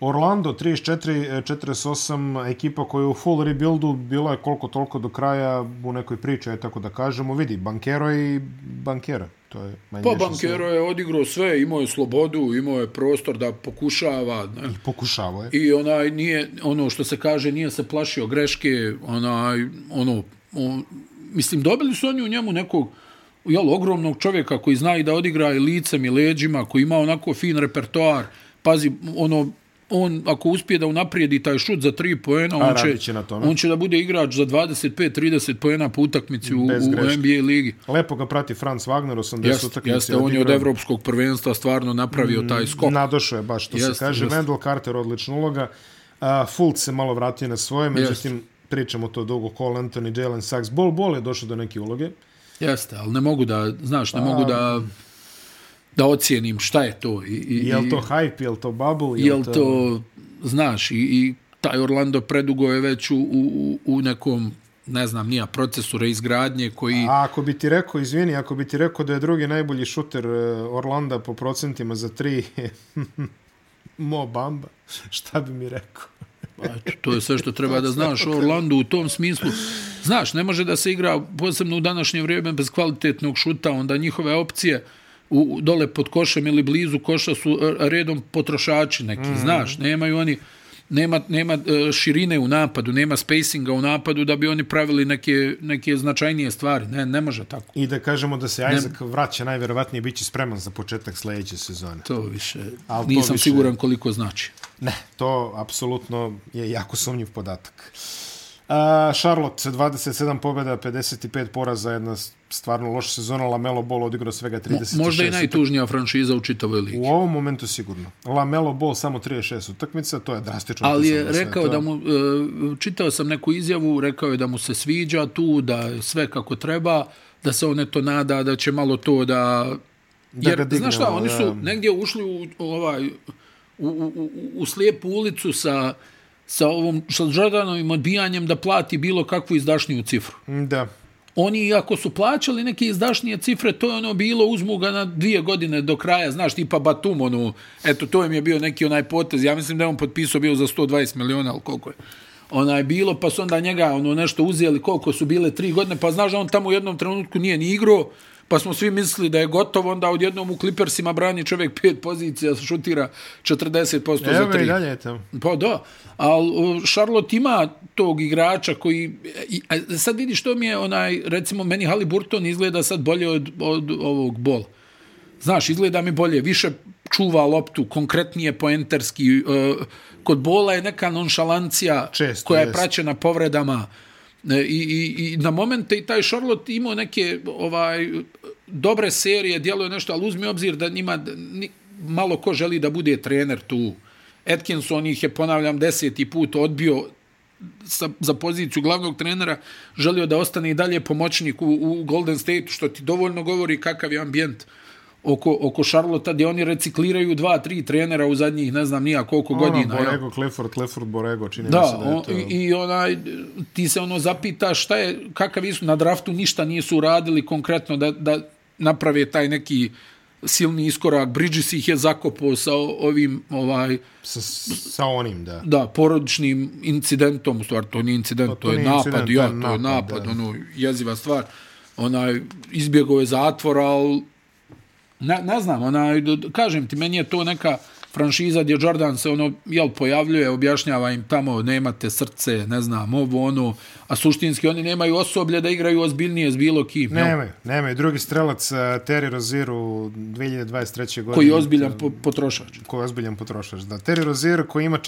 S1: Orlando 34 eh, 48 ekipa koja je u full rebuildu bila je koliko toliko do kraja u nekoj priči, aj tako da kažemo, vidi Bankero i Bankera. To je manje
S2: Pa
S1: više
S2: Bankero je odigrao sve, imao je slobodu, imao je prostor da pokušava. Ne?
S1: sve. pokušavao je.
S2: I onaj nije, ono što se kaže, nije se plašio greške, onaj, ono, on, mislim, dobili su oni u njemu nekog, jel, ogromnog čovjeka koji zna i da odigra i licem i leđima, koji ima onako fin repertoar, pazi, ono, on ako uspije da unaprijedi taj šut za 3 poena, on
S1: radit
S2: će,
S1: će na tome.
S2: on će da bude igrač za 25-30 poena po utakmici u,
S1: Bez
S2: u
S1: greške.
S2: NBA ligi.
S1: Lepo ga prati Franz Wagner 80
S2: Jeste,
S1: utakmica.
S2: jeste on je od evropskog prvenstva stvarno napravio taj skok.
S1: Nadošao je baš, to
S2: Jeste,
S1: se kaže.
S2: jeste.
S1: Wendell Carter odlična uloga. Uh, Fultz se malo vratio na svoje, međutim, pričamo to dugo, Cole Anthony, Jalen Sachs. Bol Bol je došao do neke uloge.
S2: Jeste, ali ne mogu da, znaš, ne mogu da da ocijenim šta je to i, i
S1: Je
S2: i-
S1: li to hype, je li to bubble?
S2: jel to znaš i, i taj Orlando predugo je već u, u, u nekom ne znam, nija procesu reizgradnje koji
S1: A ako bi ti rekao, izvini, ako bi ti rekao da je drugi najbolji šuter e, Orlanda po procentima za tri, Mo Bamba, šta bi mi rekao?
S2: Eto, to je sve što treba da znaš o Orlandu u tom smislu. Znaš, ne može da se igra posebno u današnje vrijeme bez kvalitetnog šuta, onda njihove opcije u, u- dole pod košem ili blizu koša su e, redom potrošači neki, mm. znaš, nemaju oni nema nema e, širine u napadu, nema spacinga u napadu da bi oni pravili neke neke značajnije stvari. Ne, ne može tako.
S1: I da kažemo da se Isaac vraća najverovatnije biće spreman za početak sledeće sezone.
S2: To više
S1: Al to
S2: nisam
S1: više-
S2: siguran koliko znači.
S1: Ne, to apsolutno je jako sumnjiv podatak. A, Charlotte, 27 pobjeda, 55 poraza, jedna s- stvarno loša sezona. Lamelo Ball odigrao svega 36.
S2: Možda i najtužnija franšiza u čitavoj ligi.
S1: U ovom momentu sigurno. Lamelo Ball samo 36 utakmica, to je drastično.
S2: Ali je
S1: uticalo na sve
S2: rekao
S1: to.
S2: da mu, e, čitao sam neku izjavu, rekao je da mu se sviđa tu, da je sve kako treba, da se on eto nada da će malo to da...
S1: Da
S2: Jer,
S1: ga dignemo,
S2: znaš šta, oni su
S1: da.
S2: negdje ušli u, u ovaj, u, u, u, u slijepu ulicu sa, sa ovom sa Jordanovim odbijanjem da plati bilo kakvu izdašniju cifru.
S1: Da,
S2: Oni, iako su plaćali neke izdašnije cifre, to je ono bilo, uzmu ga na dvije godine do kraja, znaš, tipa Batum, ono, eto, to im je bio neki onaj potez, ja mislim da je on potpisao bio za 120 miliona, ali koliko je onaj bilo, pa su onda njega ono nešto uzeli, koliko su bile tri godine, pa znaš da on tamo u jednom trenutku nije ni igrao, pa smo svi mislili da je gotovo, onda odjednom u Clippersima brani čovjek pet pozicija, šutira 40%
S1: evo
S2: za
S1: ga i
S2: tri.
S1: dalje je tamo.
S2: Pa da, ali o, Charlotte ima tog igrača koji... i- a Sad vidi što mi je onaj, recimo, meni Haliburton izgleda sad bolje od, od ovog bola. Znaš, izgleda mi bolje, više čuva loptu, konkretnije poenterski. E, kod bola je neka nonšalancija
S1: Često,
S2: koja je
S1: jest.
S2: praćena povredama. E, I, i, I na momente i taj Charlotte imao neke ovaj dobre serije, djeluje nešto, ali uzmi u obzir da njima d- ni, malo ko želi da bude trener tu. Atkinson ih je, ponavljam, deseti put odbio sa, za poziciju glavnog trenera, želio da ostane i dalje pomoćnik u, u Golden State, što ti dovoljno govori kakav je ambijent oko, oko Charlotte, gdje oni recikliraju dva, tri trenera u zadnjih, ne znam nija koliko ono, godina.
S1: Ono,
S2: jel?
S1: Borego, Clifford, Clifford, Borego, čini mi se
S2: Da,
S1: da
S2: on,
S1: je to...
S2: i, i onaj, ti se ono zapitaš šta je, kakav su na draftu ništa nisu uradili konkretno da, da naprave taj neki silni iskorak. Bridges ih je zakopao sa o- ovim, ovaj,
S1: Sa, sa onim, da.
S2: da, porodičnim incidentom, u stvari to nije incident, to, to,
S1: Pa to
S2: je
S1: nije
S2: napad,
S1: incident,
S2: ja,
S1: to
S2: to
S1: je
S2: je
S1: napad,
S2: napad,
S1: da.
S2: ono, jeziva stvar. Onaj, izbjegao je zatvor, ali ne, ne znam, onaj, d- d- kažem ti, meni je to neka franšiza gdje Jordan se ono, jel, pojavljuje, objašnjava im tamo, nemate srce, ne znam, ovo, ono, a suštinski oni nemaju osoblje da igraju ozbiljnije s bilo kim, jel?
S1: Neme, neme. Drugi strelac, eh, Terry Rozier u 2023. godine.
S2: koji je ozbiljan po, potrošač.
S1: Koji je ozbiljan potrošač, da. Terry Rozier koji ima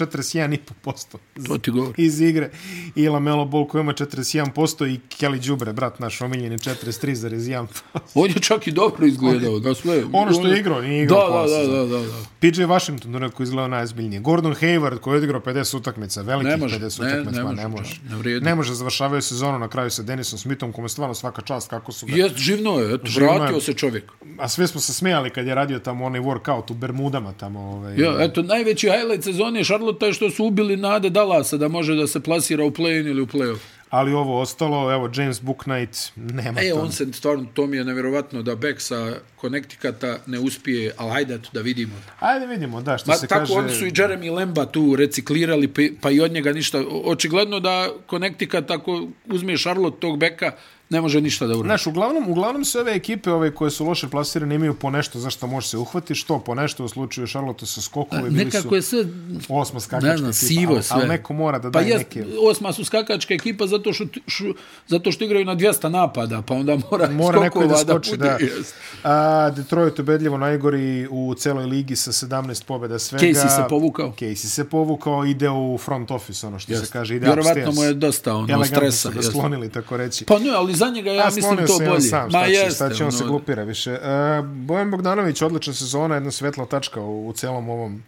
S1: 41,5%
S2: To ti govori.
S1: iz igre i Lamelo Ball koji ima 41% i Kelly Đubre, brat naš omiljeni 43,1%.
S2: On je čak i dobro izgledao. Da sve,
S1: Ono što je igrao, nije igrao pola
S2: da, da,
S1: sezone.
S2: da, da, da.
S1: PJ Washington onako izgledao najozbiljnije. Gordon Hayward koji je odigrao 50 utakmica, velikih
S2: Ne može,
S1: 50
S2: ne,
S1: utakmica,
S2: ne
S1: ma,
S2: može,
S1: ne može.
S2: ne vrijedi.
S1: Ne može, završavaju sezonu na kraju sa Denisom Smithom, kome stvarno svaka čast kako su ga...
S2: Jest, živno je, eto,
S1: Živno je.
S2: vratio se čovjek.
S1: A sve smo se smijali kad je radio tamo onaj workout u Bermudama tamo. Ovaj,
S2: Ja, eto, najveći highlight sezone Charlotte je što su ubili nade Dallasa da može da se plasira u play-in ili u play-off.
S1: Ali ovo ostalo, evo, James Booknight, nema
S2: E,
S1: to.
S2: on se stvarno, to mi je nevjerovatno da Beck sa Connecticuta ne uspije, ali hajde eto, da vidimo.
S1: Ajde vidimo, da, što
S2: Ma,
S1: se
S2: tako
S1: kaže...
S2: oni su i Jeremy Lemba tu reciklirali, pa, pa i od njega ništa. O- Očigledno da Connecticut, ako uzme Charlotte tog Becka, ne može ništa da uradi.
S1: Znaš, uglavnom, uglavnom se ove ekipe ove koje su loše plasirane imaju po nešto za što može se uhvati, što po nešto u slučaju Charlotte sa skokovi bili
S2: Nekako
S1: su
S2: je sve
S1: osma skakačka
S2: ne znam,
S1: ekipa,
S2: sivo
S1: ali,
S2: sve.
S1: ali neko mora da
S2: pa
S1: daje
S2: jest,
S1: neke...
S2: osma su skakačka ekipa zato što, šu, zato što igraju na 200 napada, pa onda mora,
S1: Mora neko i
S2: skokova
S1: da skoči,
S2: bude.
S1: da.
S2: Jest.
S1: A, Detroit ubedljivo najgori u celoj ligi sa 17 pobjeda svega.
S2: Casey se povukao.
S1: Casey se povukao, ide u front office, ono što yes. se kaže, ide
S2: Vjerovatno
S1: upstairs.
S2: mu je dosta ono,
S1: Elegantno
S2: stresa.
S1: su ga
S2: jest.
S1: sklonili, tako reći.
S2: Pa ne, ali za njega ja
S1: A,
S2: mislim
S1: sklonio
S2: to
S1: se i on
S2: bolje.
S1: Sam, šta,
S2: Ma
S1: će,
S2: jeste,
S1: šta će, on se
S2: ono,
S1: glupira više. E, Bojan Bogdanović, odlična sezona, jedna svetla tačka u, u celom ovom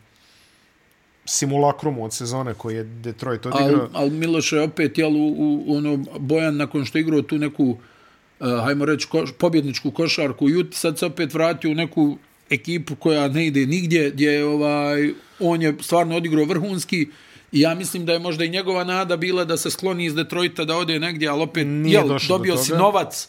S1: simulakrumu od sezone koji je Detroit
S2: Al,
S1: odigrao.
S2: al Miloš je opet jel, u, u, ono, Bojan nakon što je igrao tu neku uh, hajmo reći koš, pobjedničku košarku u Juti, sad se opet vratio u neku ekipu koja ne ide nigdje gdje je, ovaj, on je stvarno odigrao vrhunski i ja mislim da je možda i njegova nada bila da se skloni iz Detroita da ode negdje, ali opet
S1: Nije
S2: jel,
S1: došlo do
S2: dobio si
S1: toga.
S2: novac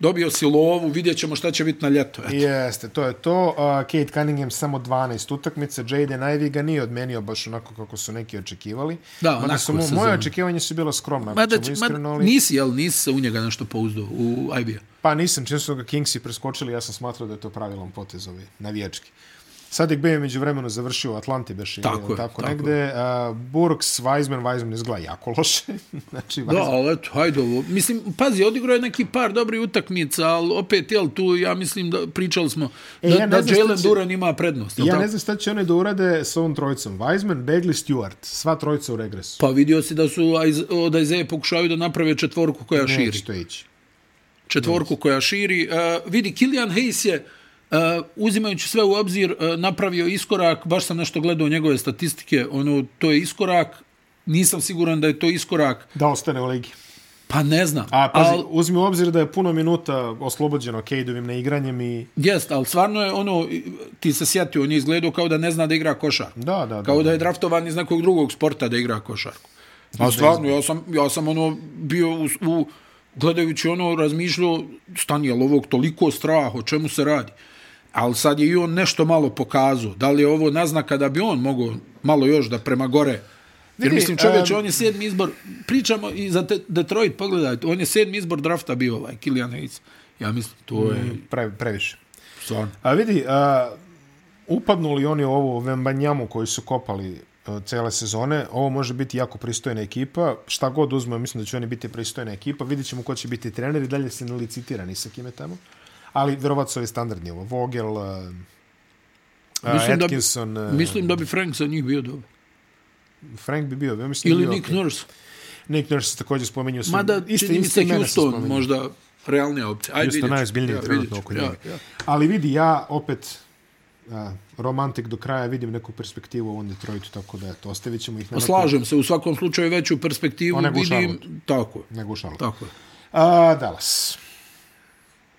S2: dobio si lovu, vidjet ćemo šta će biti na ljeto. eto.
S1: Jeste, to je to. Uh, Kate Cunningham samo 12 utakmice, Jaden Ivey ga nije odmenio baš onako kako su neki očekivali.
S2: Da,
S1: Mada
S2: onako
S1: su mo-
S2: sezona.
S1: moje očekivanje su bilo skromna,
S2: Ma
S1: ako
S2: da,
S1: ćemo
S2: će,
S1: iskreno,
S2: ma,
S1: ali...
S2: nisi, jel, nisi se u njega nešto pouzdao u IBA.
S1: Pa nisam, čim su ga Kingsi preskočili, ja sam smatrao da je to pravilan potez ovaj, navijački. Sadik Bey je među vremenu završio u Atlanti, beš ili
S2: Tako
S1: tako,
S2: je, tako
S1: negde. Uh, Burks, Weizman, Weizman izgleda jako loše. znači,
S2: Da,
S1: Weizman,
S2: ali eto, hajde ovo. Mislim, pazi, odigrao je neki par dobrih utakmica, ali opet, jel, tu ja mislim da pričali smo
S1: E,
S2: da,
S1: ja ne
S2: da
S1: znam šta
S2: Jalen
S1: će-
S2: Duran ima prednost. jel
S1: ja
S2: tako?
S1: ne znam šta će oni da urade sa ovom trojicom. Weizman, Bagley, Stewart, sva trojica u regresu.
S2: Pa vidio si da su Aiz- od Aizeje pokušavaju da naprave četvorku koja Pa, širi.
S1: Neće to ići.
S2: Četvorku koja širi. Uh, vidi, Kilian Hayes je, uh, uzimajući sve u obzir, uh, napravio iskorak, baš sam nešto gledao njegove statistike, ono, to je iskorak, nisam siguran da je to iskorak,
S1: Da ostane u ligi.
S2: pa ne znam.
S1: A, pazi,
S2: al-
S1: uzmi u obzir da je puno minuta oslobođeno Cadeovim neigranjem i...
S2: Jest, ali stvarno je ono, i- ti se sjetio, on je izgledao kao da ne zna da igra košarku.
S1: Da, da,
S2: Kao da je draftovan iz nekog drugog sporta da igra košarku. A stvarno, ja sam, ja sam ono bio u, u gledajući ono, razmišljao, stan je li ovog toliko strah, o čemu se radi. Ali sad je i on nešto malo pokazao. Da li je ovo naznaka da bi on mogao malo još da prema gore Jer
S1: Vidi,
S2: mislim čovječe,
S1: em,
S2: on je sedmi izbor, pričamo i za te, Detroit, pogledajte, on je sedmi izbor drafta bio ovaj, Kilian Hayes. Ja mislim, to je
S1: Pre, previše.
S2: stvarno.
S1: A vidi, a, upadnu li oni u ovu Vembanjamu koji su kopali e, cele sezone, ovo može biti jako pristojna ekipa, šta god uzme, mislim da će oni biti pristojna ekipa, vidit ćemo ko će biti trener i dalje se ne licitira ni sa kime tamo, ali verovatno su ovi standardni ovo, Vogel, e, A,
S2: Mislim da-
S1: Atkinson, da,
S2: Mislim da bi Frank za njih bio dobar.
S1: Frank bi bio, ja mislim da
S2: Ili
S1: bi bio
S2: Nick
S1: okej.
S2: Nurse.
S1: Nick Nurse se također spomenuo. su-
S2: Mada,
S1: iste-
S2: čini mi
S1: iste
S2: se
S1: imena
S2: Houston
S1: spominju.
S2: možda realnija opcija. Ajde,
S1: Houston
S2: vidjet ću.
S1: najozbiljniji
S2: Ja,
S1: trenutno
S2: vidjet ću.
S1: oko
S2: Ja,
S1: njega.
S2: ja.
S1: Ali vidi, ja opet a, romantik do kraja vidim neku perspektivu u ovom Detroitu, tako da eto, ostavit ćemo ih na
S2: Pa slažem se, u svakom slučaju veću perspektivu
S1: Ona je gušala.
S2: vidim. Tako je,
S1: nego u šalu.
S2: tako je.
S1: A, Dallas.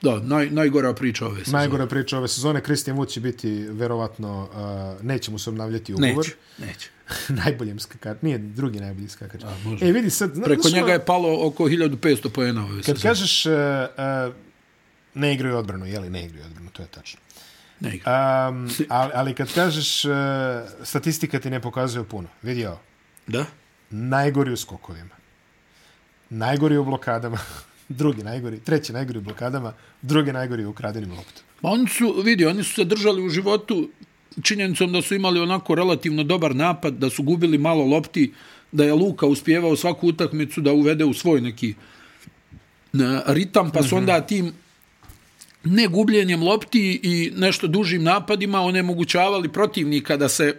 S2: Da, naj, najgora priča ove sezone.
S1: Najgora priča ove sezone, Christian Wood će biti verovatno, a, neće mu se obnavljati ugovor.
S2: Neće, neće.
S1: Najboljem skakač, nije drugi najbolji skakač.
S2: A, može.
S1: E, vidi sad, zna-
S2: Preko
S1: znaš ono-
S2: njega je palo oko 1500 pojena ove
S1: Kad
S2: sezone.
S1: kažeš uh, uh, ne igraju odbranu, jeli ne igraju odbranu, to je tačno.
S2: Ne igra.
S1: Um, ali, ali kad kažeš uh, statistika ti ne pokazuje puno. Vidi ovo,
S2: Da?
S1: najgori u skokovima, najgori u blokadama, drugi najgori, treći najgori u blokadama, drugi najgori u ukradenim loptama.
S2: Ma oni su, vidi, oni su se držali u životu činjenicom da su imali onako relativno dobar napad, da su gubili malo lopti, da je Luka uspjevao svaku utakmicu da uvede u svoj neki na, ritam, pa su onda tim ne gubljenjem lopti i nešto dužim napadima onemogućavali protivnika da se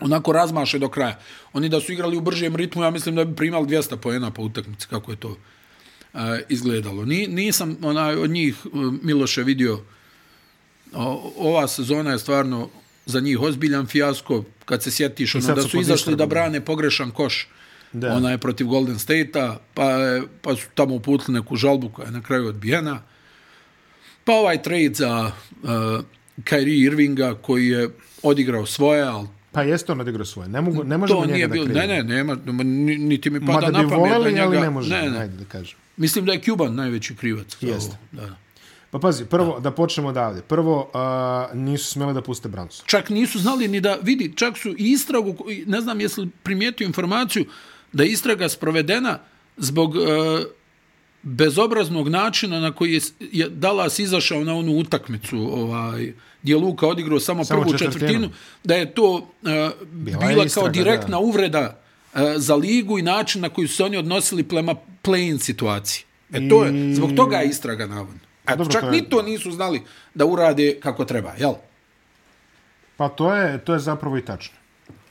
S2: onako razmaše do kraja. Oni da su igrali u bržem ritmu, ja mislim da bi primali 200 poena po utakmici, kako je to a, izgledalo. Ni, nisam onaj, od njih e, Miloše vidio o, ova sezona je stvarno za njih ozbiljan fijasko kad se sjetiš ono,
S1: sad
S2: da
S1: su
S2: su
S1: pod
S2: izašli da
S1: Istragom.
S2: brane pogrešan koš
S1: Da.
S2: onaj protiv Golden State-a pa, je- pa su tamo uputili neku žalbu koja je na kraju odbijena pa ovaj trade za uh, Kyrie Irvinga koji je odigrao svoje ali
S1: Pa jeste on odigrao svoje, ne, mogu, ne možemo
S2: to
S1: njega
S2: nije
S1: da
S2: bilo,
S1: krivimo.
S2: ne, ne, nema, ma, ni- niti mi pada
S1: Mada
S2: na pamet
S1: bi voleli,
S2: da njega,
S1: ali ne možemo,
S2: ne, ne,
S1: ajde da kažem.
S2: mislim da je Cuban najveći krivac. za
S1: Jeste.
S2: ovo, Da. da.
S1: Pa pazi, prvo, da, počnemo odavde. Prvo, uh, nisu smjeli da puste Bransu.
S2: Čak nisu znali ni da, vidi, čak su i istragu, ko- i ne znam jesi li primijetio informaciju, da je istraga sprovedena zbog e, bezobraznog načina na koji je, s- je Dallas izašao na onu utakmicu, ovaj, gdje je Luka odigrao samo,
S1: Samo
S2: prvu
S1: četvrtinu.
S2: četvrtinu, da je to e, bila,
S1: je
S2: bila
S1: istraga,
S2: kao direktna
S1: da.
S2: uvreda e, za ligu i način na koji su se oni odnosili prema play-in situaciji. E to je, zbog toga je istraga navodno. Eto,
S1: Pa Dobro,
S2: čak
S1: to je-
S2: ni to nisu znali da urade kako treba, jel?
S1: Pa to je, to je zapravo i tačno.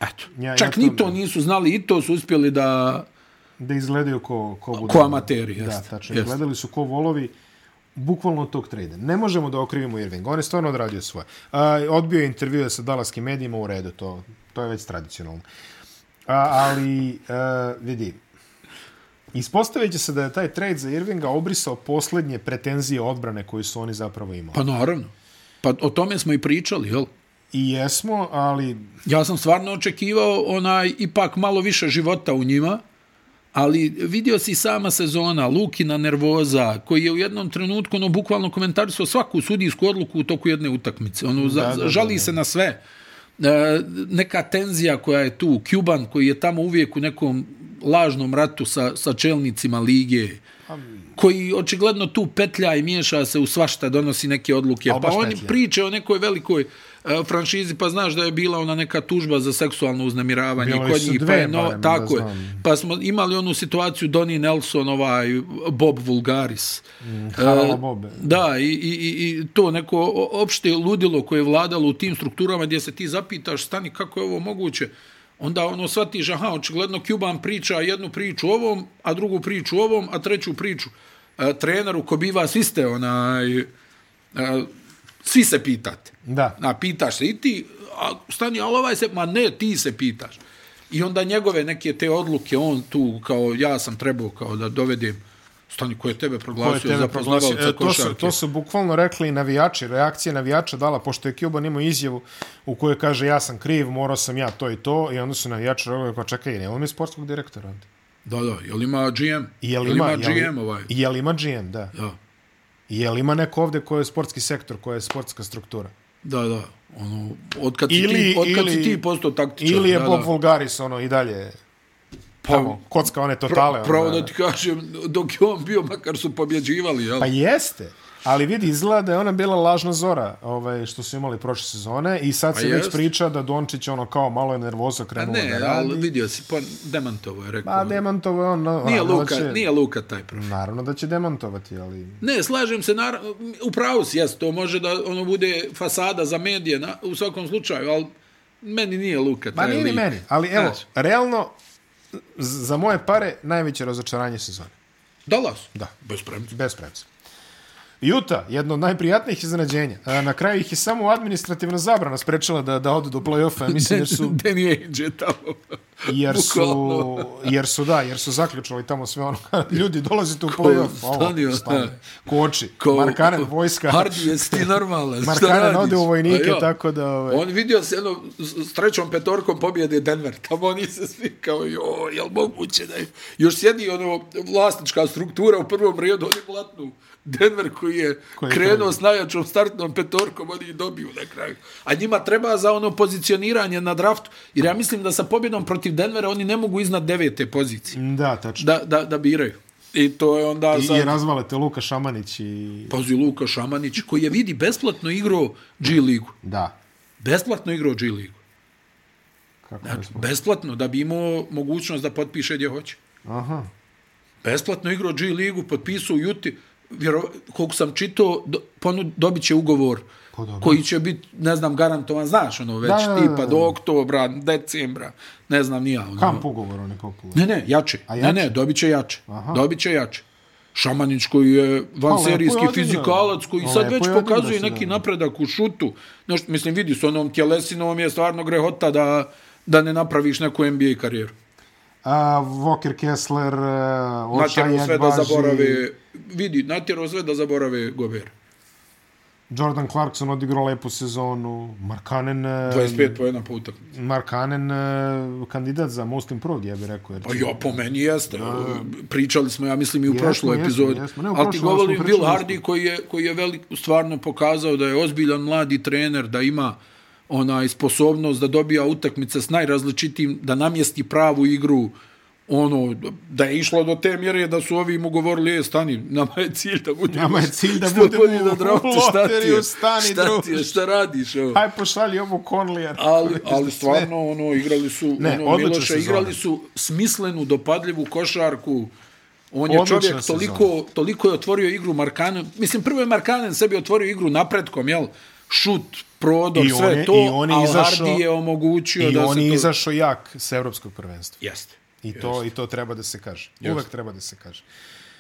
S2: Eto.
S1: Ja-
S2: Ja,
S1: ja
S2: Čak
S1: to-
S2: ja ni to nisu znali i to su uspjeli da...
S1: da izgledaju ko, ko budu.
S2: Ko amateri,
S1: Da,
S2: jeste,
S1: tačno.
S2: jeste.
S1: Izgledali su ko volovi bukvalno od tog trejda. Ne možemo da okrivimo Irvinga, on je stvarno odradio svoje. A, odbio je intervjue sa dalaskim medijima u redu, to, to je već tradicionalno. A, ali, a, vidi, ispostavit će se da je taj trade za Irvinga obrisao posljednje pretenzije odbrane koje su oni zapravo imali.
S2: Pa naravno. Pa o tome smo i pričali, jel?
S1: I jesmo, ali
S2: Ja sam stvarno očekivao onaj ipak malo više života u njima, ali vidio si i sama sezona, Lukina nervoza, koji je u jednom trenutku ono, bukvalno komentarisao svaku sudijsku odluku u toku jedne utakmice. Ono, za,
S1: Da,
S2: da,
S1: da, da,
S2: da, žali
S1: da.
S2: se na sve. E, neka tenzija koja je tu, Cuban koji je tamo uvijek u nekom lažnom ratu sa, sa čelnicima lige, koji očigledno tu petlja i miješa se u svašta, donosi neke odluke.
S1: Ali
S2: Pa
S1: baš
S2: on
S1: petlja.
S2: priče o nekoj velikoj e, franšizi, pa znaš da je bila ona neka tužba za seksualno uznemiravanje
S1: Bile
S2: kod
S1: su
S2: njih,
S1: dve
S2: pa je no,
S1: barem,
S2: tako
S1: da
S2: je.
S1: znam.
S2: Pa smo imali onu situaciju Donnie Nelson, ovaj Bob Vulgaris.
S1: hvala
S2: E,
S1: Bobe.
S2: Da, i, i, i- i to neko o- opšte ludilo koje je vladalo u tim strukturama gdje se ti zapitaš, stani, kako je ovo moguće? Onda ono shvatiš, aha, očigledno Cuban priča jednu priču ovom, a drugu priču ovom, a treću priču e, treneru ko biva, svi ste onaj, e, svi se pitate.
S1: Da.
S2: A pitaš se i ti, a stani, ali ovaj se, ma ne, ti se pitaš. I onda njegove neke te odluke, on tu kao, ja sam trebao kao da dovedem, stani, ko je tebe
S1: Ko je
S2: proglasio
S1: tebe
S2: za
S1: proglasio?
S2: poznavalca
S1: E, to su,
S2: košarke?
S1: to su bukvalno rekli i navijači, reakcije navijača dala, pošto je Cuban imao izjavu u kojoj kaže ja sam kriv, morao sam ja to i to, i onda su navijači rekli, kao čekaj, nema mi sportskog direktora onda.
S2: Da, da, jel ima GM?
S1: I Jel ima,
S2: ima
S1: jel,
S2: GM ovaj?
S1: Jel ima GM, da.
S2: Da,
S1: I Jel ima neko ovde koji je sportski sektor, koja je sportska struktura.
S2: da, da. Ono, otkad si,
S1: Ili-
S2: ti, otkad
S1: ili-
S2: si ti postao taktičar.
S1: Ili je
S2: da,
S1: Bob
S2: da.
S1: Vulgaris ono i dalje tamo, kocka one totale. ono,
S2: Pravo
S1: da,
S2: da ti kažem, dok je on bio, makar su pobjeđivali, jel?
S1: Pa jeste. Ali vidi, izgleda da je ona bila lažna zora ovaj, što su imali prošle sezone i sad se
S2: Pa
S1: već
S2: jest.
S1: priča da Dončić ono kao malo je nervoza
S2: A
S1: krenuo
S2: ne,
S1: da
S2: ali
S1: radi.
S2: vidio si, pa Demantovo je rekao. ono.
S1: Pa demantovo je on. no,
S2: nije,
S1: naravno da
S2: Luka,
S1: će-
S2: nije Luka taj profil.
S1: Naravno da će demantovati, ali...
S2: Ne, slažem se, nar... upravo si, jes, to može da ono bude fasada za medije na, u svakom slučaju, ali meni nije Luka
S1: Ma
S2: taj
S1: Pa nije ni
S2: lik.
S1: meni, ali evo,
S2: Znaš,
S1: realno, z- za moje pare, najveće razočaranje sezone.
S2: Dallas?
S1: Da.
S2: Bez premca.
S1: Bez premca. Juta, jedno od najprijatnijih iznenađenja. E, Na kraju ih je samo administrativna zabrana sprečala da, da odu do play-offa, ja mislim, jer su,
S2: Danny Ainge je tamo.
S1: jer su,
S2: Bukvalno.
S1: jer su, da, jer su zaključali tamo sve ono, ljudi, dolazite u play-off, ovo,
S2: stani,
S1: stani,
S2: da.
S1: koči, Markanen, vojska,
S2: Hardi, jesi ti normalan? šta
S1: Markanen
S2: radiš?
S1: ode u vojnike,
S2: A ja.
S1: tako da, ovaj,
S2: On vidio se jedno, s s trećom petorkom pobjede Denver. Tamo oni se svi kao, jo, jel moguće da je... Još sjedi ono vlasnička struktura u prvom redu, oni blatnu Denver koji je
S1: Koji je
S2: krenuo
S1: prvi.
S2: s najjačom startnom petorkom, oni i dobiju na kraju. A njima treba za ono pozicioniranje na draftu, jer ja mislim da sa pobjedom protiv Denvera oni ne mogu iznad devete pozicije
S1: da, tačno.
S2: da, da, da biraju. I to je onda...
S1: I,
S2: sad-
S1: I razvale te Luka Šamanić i...
S2: Pazi, Luka Šamanić, koji je vidi besplatno igrao G ligu.
S1: Da,
S2: Besplatno igrao G ligu.
S1: kako je
S2: Znači, besplatno, da bi imao mogućnost da potpiše gdje hoće.
S1: Aha.
S2: Besplatno igrao G ligu, potpisao u Juti, vjero, koliko sam čitao, do, ponu, dobit će ugovor
S1: Pa dobro.
S2: koji će biti, ne znam, garantovan, znaš, ono, već
S1: Da, da, da,
S2: tipa
S1: da.
S2: do oktobra, decembra, ne znam, nija. Ono,
S1: Kamp ugovor on je popularno.
S2: Ne, ne, jače.
S1: A
S2: Ne,
S1: jače?
S2: ne, dobit će jače.
S1: Aha.
S2: Dobit će jače. Šamanić koji je
S1: lepo je
S2: vanserijski
S1: odigrao.
S2: fizikalac koji
S1: Pa,
S2: sad
S1: lepo
S2: već
S1: je odigrao
S2: pokazuje
S1: se, da.
S2: neki napredak u šutu. Znaš, mislim, vidi s onom tjelesinom je stvarno grehota da, da ne napraviš neku NBA karijeru.
S1: A, Walker Kessler, uh,
S2: Natjerao
S1: Ošaj
S2: sve da
S1: Agbaži,
S2: zaborave, vidi, natjerao sve da zaborave Gober.
S1: Jordan Clarkson odigrao lepu sezonu, Markanen, e,
S2: 25 pojena po utakmicu.
S1: Markanen e, kandidat za Most Improved, ja bih rekao. Jer...
S2: Pa ja, po meni jeste. Pričali smo, ja mislim, i u
S1: Jesmo,
S2: prošloj
S1: jesmo,
S2: epizodi.
S1: jesmo. Ne, u
S2: Ali ti
S1: prošloj, ali smo
S2: govorim Will
S1: pričali
S2: Hardy koji je, koji je velik, stvarno pokazao da je ozbiljan mladi trener, da ima onaj sposobnost da dobija utakmice s najrazličitim, da namjesti pravu igru, ono, da je išlo do te mjere da su ovi mu govorili, e, stani, nama je cilj da budemo...
S1: Nama je cilj da
S2: što
S1: budemo
S2: bolji na
S1: u
S2: draftu, šta ti je,
S1: loteriju, stani,
S2: šta ti je,
S1: druže.
S2: šta radiš, ovo?
S1: Aj, pošalji ovu Conleya.
S2: ali, ali stvarno ono igrali su
S1: Ne,
S2: ne, ono,
S1: odlična
S2: Miloša
S1: sezona.
S2: igrali su smislenu dopadljivu košarku on je
S1: Odlična
S2: čovjek
S1: sezona.
S2: toliko, toliko je otvorio igru Markanen mislim prvo je Markanen sebi otvorio igru napretkom jel šut prodor
S1: I
S2: sve
S1: on je-
S2: to
S1: i on je
S2: ali
S1: izašao-
S2: Hardy je omogućio
S1: I
S2: da
S1: on
S2: se
S1: je
S2: to
S1: izašao jak s evropskog prvenstva.
S2: jeste
S1: I to, I to treba da se kaže. Uvek treba da se kaže.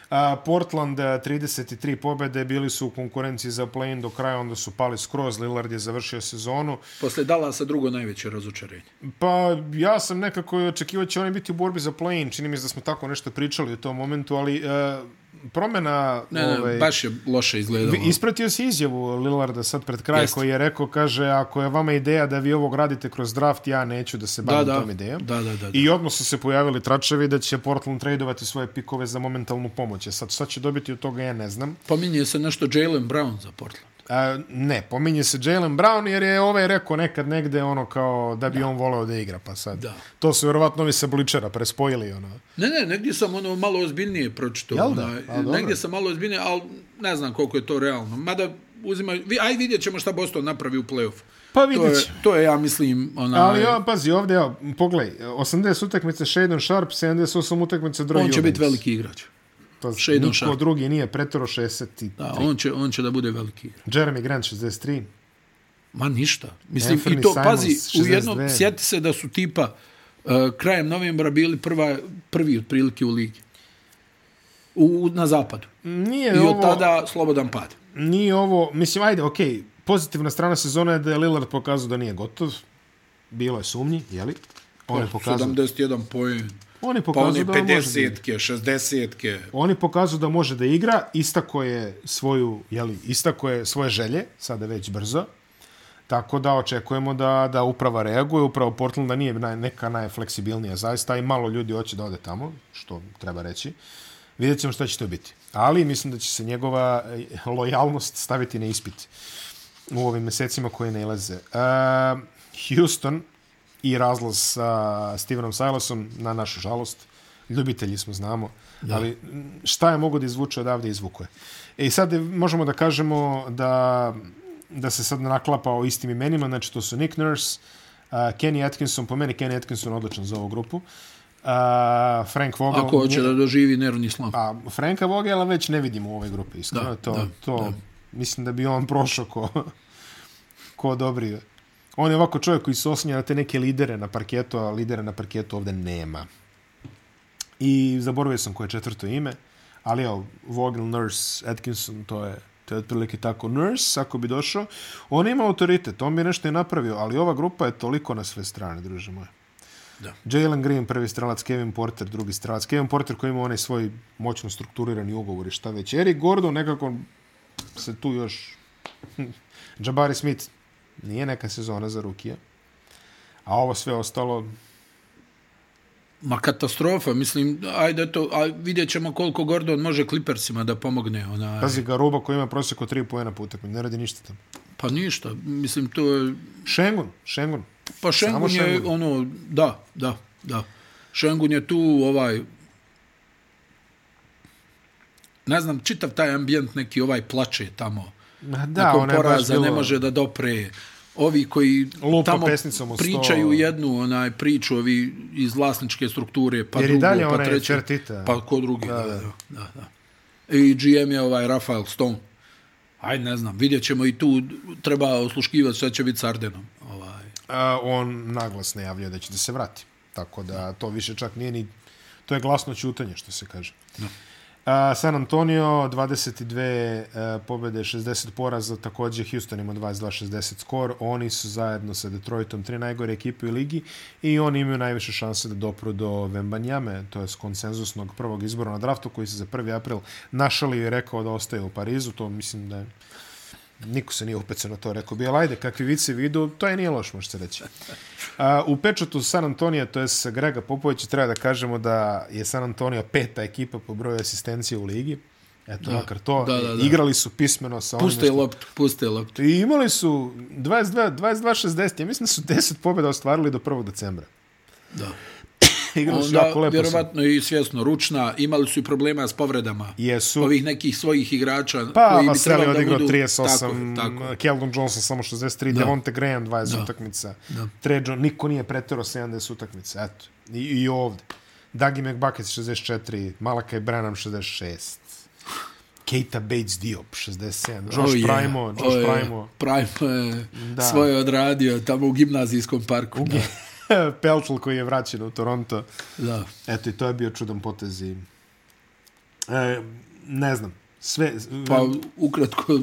S1: A, Portland a, 33 pobede, bili su u konkurenciji za play-in do kraja, onda su pali skroz, Lillard je završio sezonu.
S2: posle Dallasa drugo najveće razočarenje
S1: Pa ja sam nekako očekivao da će oni biti u borbi za play-in, čini mi se da smo tako nešto pričali u tom momentu, ali e, promena...
S2: ne, ne,
S1: ovaj,
S2: baš je loše izgledalo
S1: Vi- Ispratio si izjavu Lillarda sad pred kraj
S2: Jeste.
S1: koji je rekao, kaže, ako je vama ideja da vi ovo radite kroz draft, ja neću da se
S2: da,
S1: bavim
S2: da,
S1: tom idejom.
S2: da, da, da, da.
S1: I odmah su se pojavili tračevi da će Portland tradeovati svoje pikove za momentalnu pomoć. E Sad šta će dobiti od toga, ja ne znam.
S2: pominje se nešto Jalen Brown za Portland
S1: A, ne, pominje se Jalen Brown jer je ovaj rekao nekad negde ono kao da bi on voleo da igra, pa sad.
S2: Da.
S1: To su vjerovatno ovi sa Bličera prespojili. Ono.
S2: Ne, ne, negdje sam ono malo ozbiljnije pročito.
S1: Jel da?
S2: onaj,
S1: A, dobro.
S2: negdje sam malo ozbiljnije, ali ne znam koliko je to realno. Mada uzimaju, vi, aj vidjet ćemo šta Boston napravi u play-offu.
S1: Pa
S2: To
S1: vidjet
S2: je,
S1: ćemo.
S2: to je, ja mislim, onaj,
S1: Ali ja, pazi, ovdje, ja, pogledaj, 80 utakmice Shadon Sharp, 78 utakmice Drew
S2: on će
S1: Eubanks.
S2: biti veliki igrač.
S1: Pa,
S2: Shadon
S1: niko
S2: Sharp.
S1: drugi nije pretero 63.
S2: Da, on će, on će da bude veliki igrač.
S1: Jeremy Grant 63.
S2: Ma ništa. Mislim,
S1: Anthony
S2: i to,
S1: Simons,
S2: pazi, u jednom,
S1: 62.
S2: sjeti se da su tipa uh, krajem novembra bili prva, prvi otprilike u ligi. U, u- na zapadu.
S1: Nije
S2: I
S1: E, ovo...
S2: od tada slobodan pad.
S1: nije ovo, mislim, ajde, okej, okay, pozitivna strana sezona je da je Lillard pokazao da nije gotov. Bilo je sumnji, jeli? On je pokazao,
S2: 71 poen.
S1: on je
S2: Pa
S1: pokazao
S2: one
S1: da on može da igra.
S2: 50-ke, 60-ke.
S1: On je pokazao da može da igra, istako je svoju, jeli, istako je svoje želje, sada već brzo. Tako da očekujemo da, da uprava reaguje, upravo Portland da nije naj, neka najfleksibilnija zaista i malo ljudi hoće da ode tamo, što treba reći. Vidjet ćemo šta će to biti. Ali mislim da će se njegova eh, lojalnost staviti na ispit u ovim mesecima koje ne ilaze. Uh, Houston i razlaz sa Stevenom Silasom, na našu žalost, ljubitelji smo, znamo. Da. Ali m, šta je mogo da izvuče odavde, izvuko je. E i sad je- možemo da kažemo da, da se sad naklapa o istim imenima, znači to su Nick Nurse, uh, Kenny Atkinson, po meni Kenny Atkinson odličan za ovu grupu, uh, Frank Vogel...
S2: Ako hoće
S1: nje-
S2: da doživi nervni slom.
S1: A Franka Vogela već ne vidimo u ovoj grupi, iskreno. Da,
S2: Da,
S1: to, da,
S2: da,
S1: to, da. Mislim da bi on prošao ko, ko dobrio. On je ovako čovjek koji se oslanja na te neke lidere na parketu, a lidera na parketu ovde nema. I zaboravio sam koje je četvrto ime, ali evo, Vogel, Nurse, Atkinson, to je, to je otprilike tako. Nurse, ako bi došao, on ima autoritet, on bi nešto i napravio, ali ova grupa je toliko na sve strane, druže moje.
S2: Da.
S1: Jalen Green prvi strelac, Kevin Porter drugi strelac. Kevin Porter koji ima onaj svoj moćno strukturirani ugovor i šta već. Eric Gordon nekako se tu još... Jabari Smith nije neka sezona za rukije. A ovo sve ostalo...
S2: Ma katastrofa, mislim, ajde to, a vidjet ćemo koliko Gordon može Clippersima da pomogne. Ona,
S1: Pazi ga Ruba koji ima prosjeko 3 pojena po utakmi. Ne radi ništa tamo.
S2: pa ništa, mislim, to je...
S1: Šengun, Šengun.
S2: Pa
S1: Samo
S2: Šengun je
S1: Šengun.
S2: ono, da, da, da. Šengun je tu ovaj... Ne znam, čitav taj ambijent neki ovaj plače tamo.
S1: Ma
S2: Da, nakon
S1: ono je baš
S2: poraza ne
S1: bilo-
S2: može da dopre. Ovi koji
S1: Lupa
S2: tamo
S1: pesnicom o sto.
S2: pričaju jednu onaj priču, ovi iz vlasničke strukture, pa
S1: Jer i
S2: drugo,
S1: dalje
S2: pa
S1: onaj
S2: treće.
S1: Fertitta.
S2: Pa ko drugi, da, da, da. da. I GM je ovaj Rafael Stone. Aj, ne znam, vidjet ćemo i tu, treba osluškivati šta će biti s Ardenom. Ovaj.
S1: A, on naglas najavljuje da će da se vrati. Tako da to više čak nije ni... To je glasno ćutanje, što se kaže.
S2: Da.
S1: A, San Antonio, 22 uh, pobjede, 60 poraza, također Houston ima 22-60 skor. Oni su zajedno sa Detroitom tri najgore ekipe u ligi i oni imaju najviše šanse da dopru do Vembanjame, to je konsenzusnog prvog izbora na draftu koji se za 1. april našalio i rekao da ostaje u Parizu. To mislim da je Niko se nije upecao na to, rekao bi, ali ajde, kakvi vici vidu, to je nije loš, može se reći. A, u pečatu San Antonija, to je sa Grega Popovića, treba da kažemo da je San Antonio peta ekipa po broju asistencije u ligi. Eto, da, makar to.
S2: da, da, da.
S1: Igrali su pismeno sa onim
S2: Puste loptu, puste loptu.
S1: I imali su 22, 22-60, ja mislim da su 10 pobjeda ostvarili do 1. decembra.
S2: Da.
S1: Igrali su jako
S2: Onda,
S1: lepo. Vjerovat...
S2: vjerovatno i svjesno ručna, imali su i problema s povredama.
S1: Jesu.
S2: Ovih nekih svojih igrača
S1: Pa,
S2: koji bi
S1: Vaseli
S2: trebali da
S1: odigrao
S2: budu...
S1: 38,
S2: Tako, tako.
S1: Keldon Johnson samo 63, da.
S2: Da.
S1: Devonte Graham 20 da.
S2: Da.
S1: utakmica, da.
S2: Da.
S1: Trejo, niko nije preterao 70 utakmica, eto, i, i ovde. Dagi McBucket 64, Malakaj Branham 66, Keita Bates Diop 67, Josh
S2: Oh,
S1: oh,
S2: yeah.
S1: Primo, Josh
S2: Oh,
S1: oh,
S2: yeah.
S1: Primo,
S2: Primo je
S1: Da.
S2: svoje odradio tamo u gimnazijskom parku. Da,
S1: Peltl koji je vraćen u Toronto.
S2: da.
S1: Eto, i to je bio čudan potez i... E, ne znam, sve...
S2: Pa ukratko,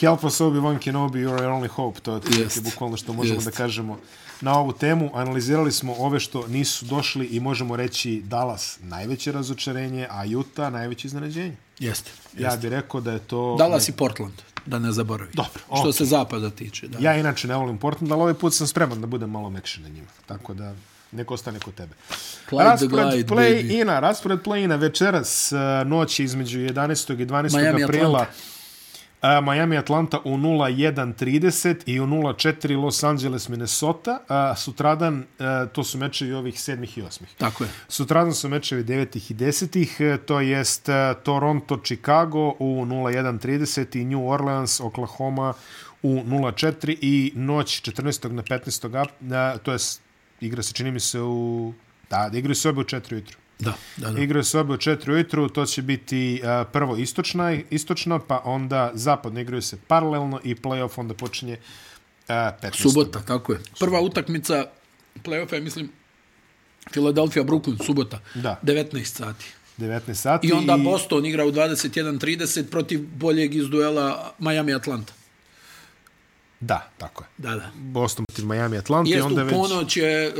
S1: Help us Obi-Wan Kenobi, you're our only hope. To je otprilike
S2: Jest.
S1: bukvalno što možemo
S2: Jest.
S1: da kažemo na ovu temu. Analizirali smo ove što nisu došli i možemo reći Dallas najveće razočarenje, a Utah najveće iznenađenje.
S2: jeste.
S1: Ja bih rekao da je to...
S2: Dallas i Portland, da ne zaboravi.
S1: Dobro,
S2: Što
S1: okej.
S2: se zapada tiče. Da.
S1: Ja inače ne volim Portland, ali ovaj put sam spreman da budem malo mekši na njima. Tako da neko ostane kod tebe.
S2: Clyde the Glide, baby.
S1: play-ina, raspored play-ina večeras, eh, noć između 11. i 12.
S2: Miami,
S1: aprila.
S2: Atlanta.
S1: A, Miami Atlanta u 0-1-30 i u 0-4 Los Angeles Minnesota. A, sutradan, a, to su mečevi ovih sedmih i osmih.
S2: Tako je.
S1: Sutradan su mečevi 9. i 10. To jest eh, Toronto, Chicago u 01.30 i New Orleans, Oklahoma u 04 i noć 14. na 15. ap- na- to jest igra se čini mi se u... Da, da igraju se obe u 4 ujutru.
S2: Da, da, da.
S1: Igraju se obe u 4 ujutru, to će biti eh, prvo istočna, istočno, pa onda zapadno igraju se paralelno i playoff onda počinje eh, 15.
S2: Subota, tako je. Prva utakmica play-offa je, mislim, Philadelphia, Brooklyn, subota.
S1: Da.
S2: 19 sati.
S1: 19 sati.
S2: I onda Boston igra u 21.30 protiv boljeg iz duela Miami-Atlanta.
S1: Da, tako je.
S2: Da, da.
S1: Boston protiv Miami Atlanta i
S2: Jeste, u
S1: onda već...
S2: ponoć je e,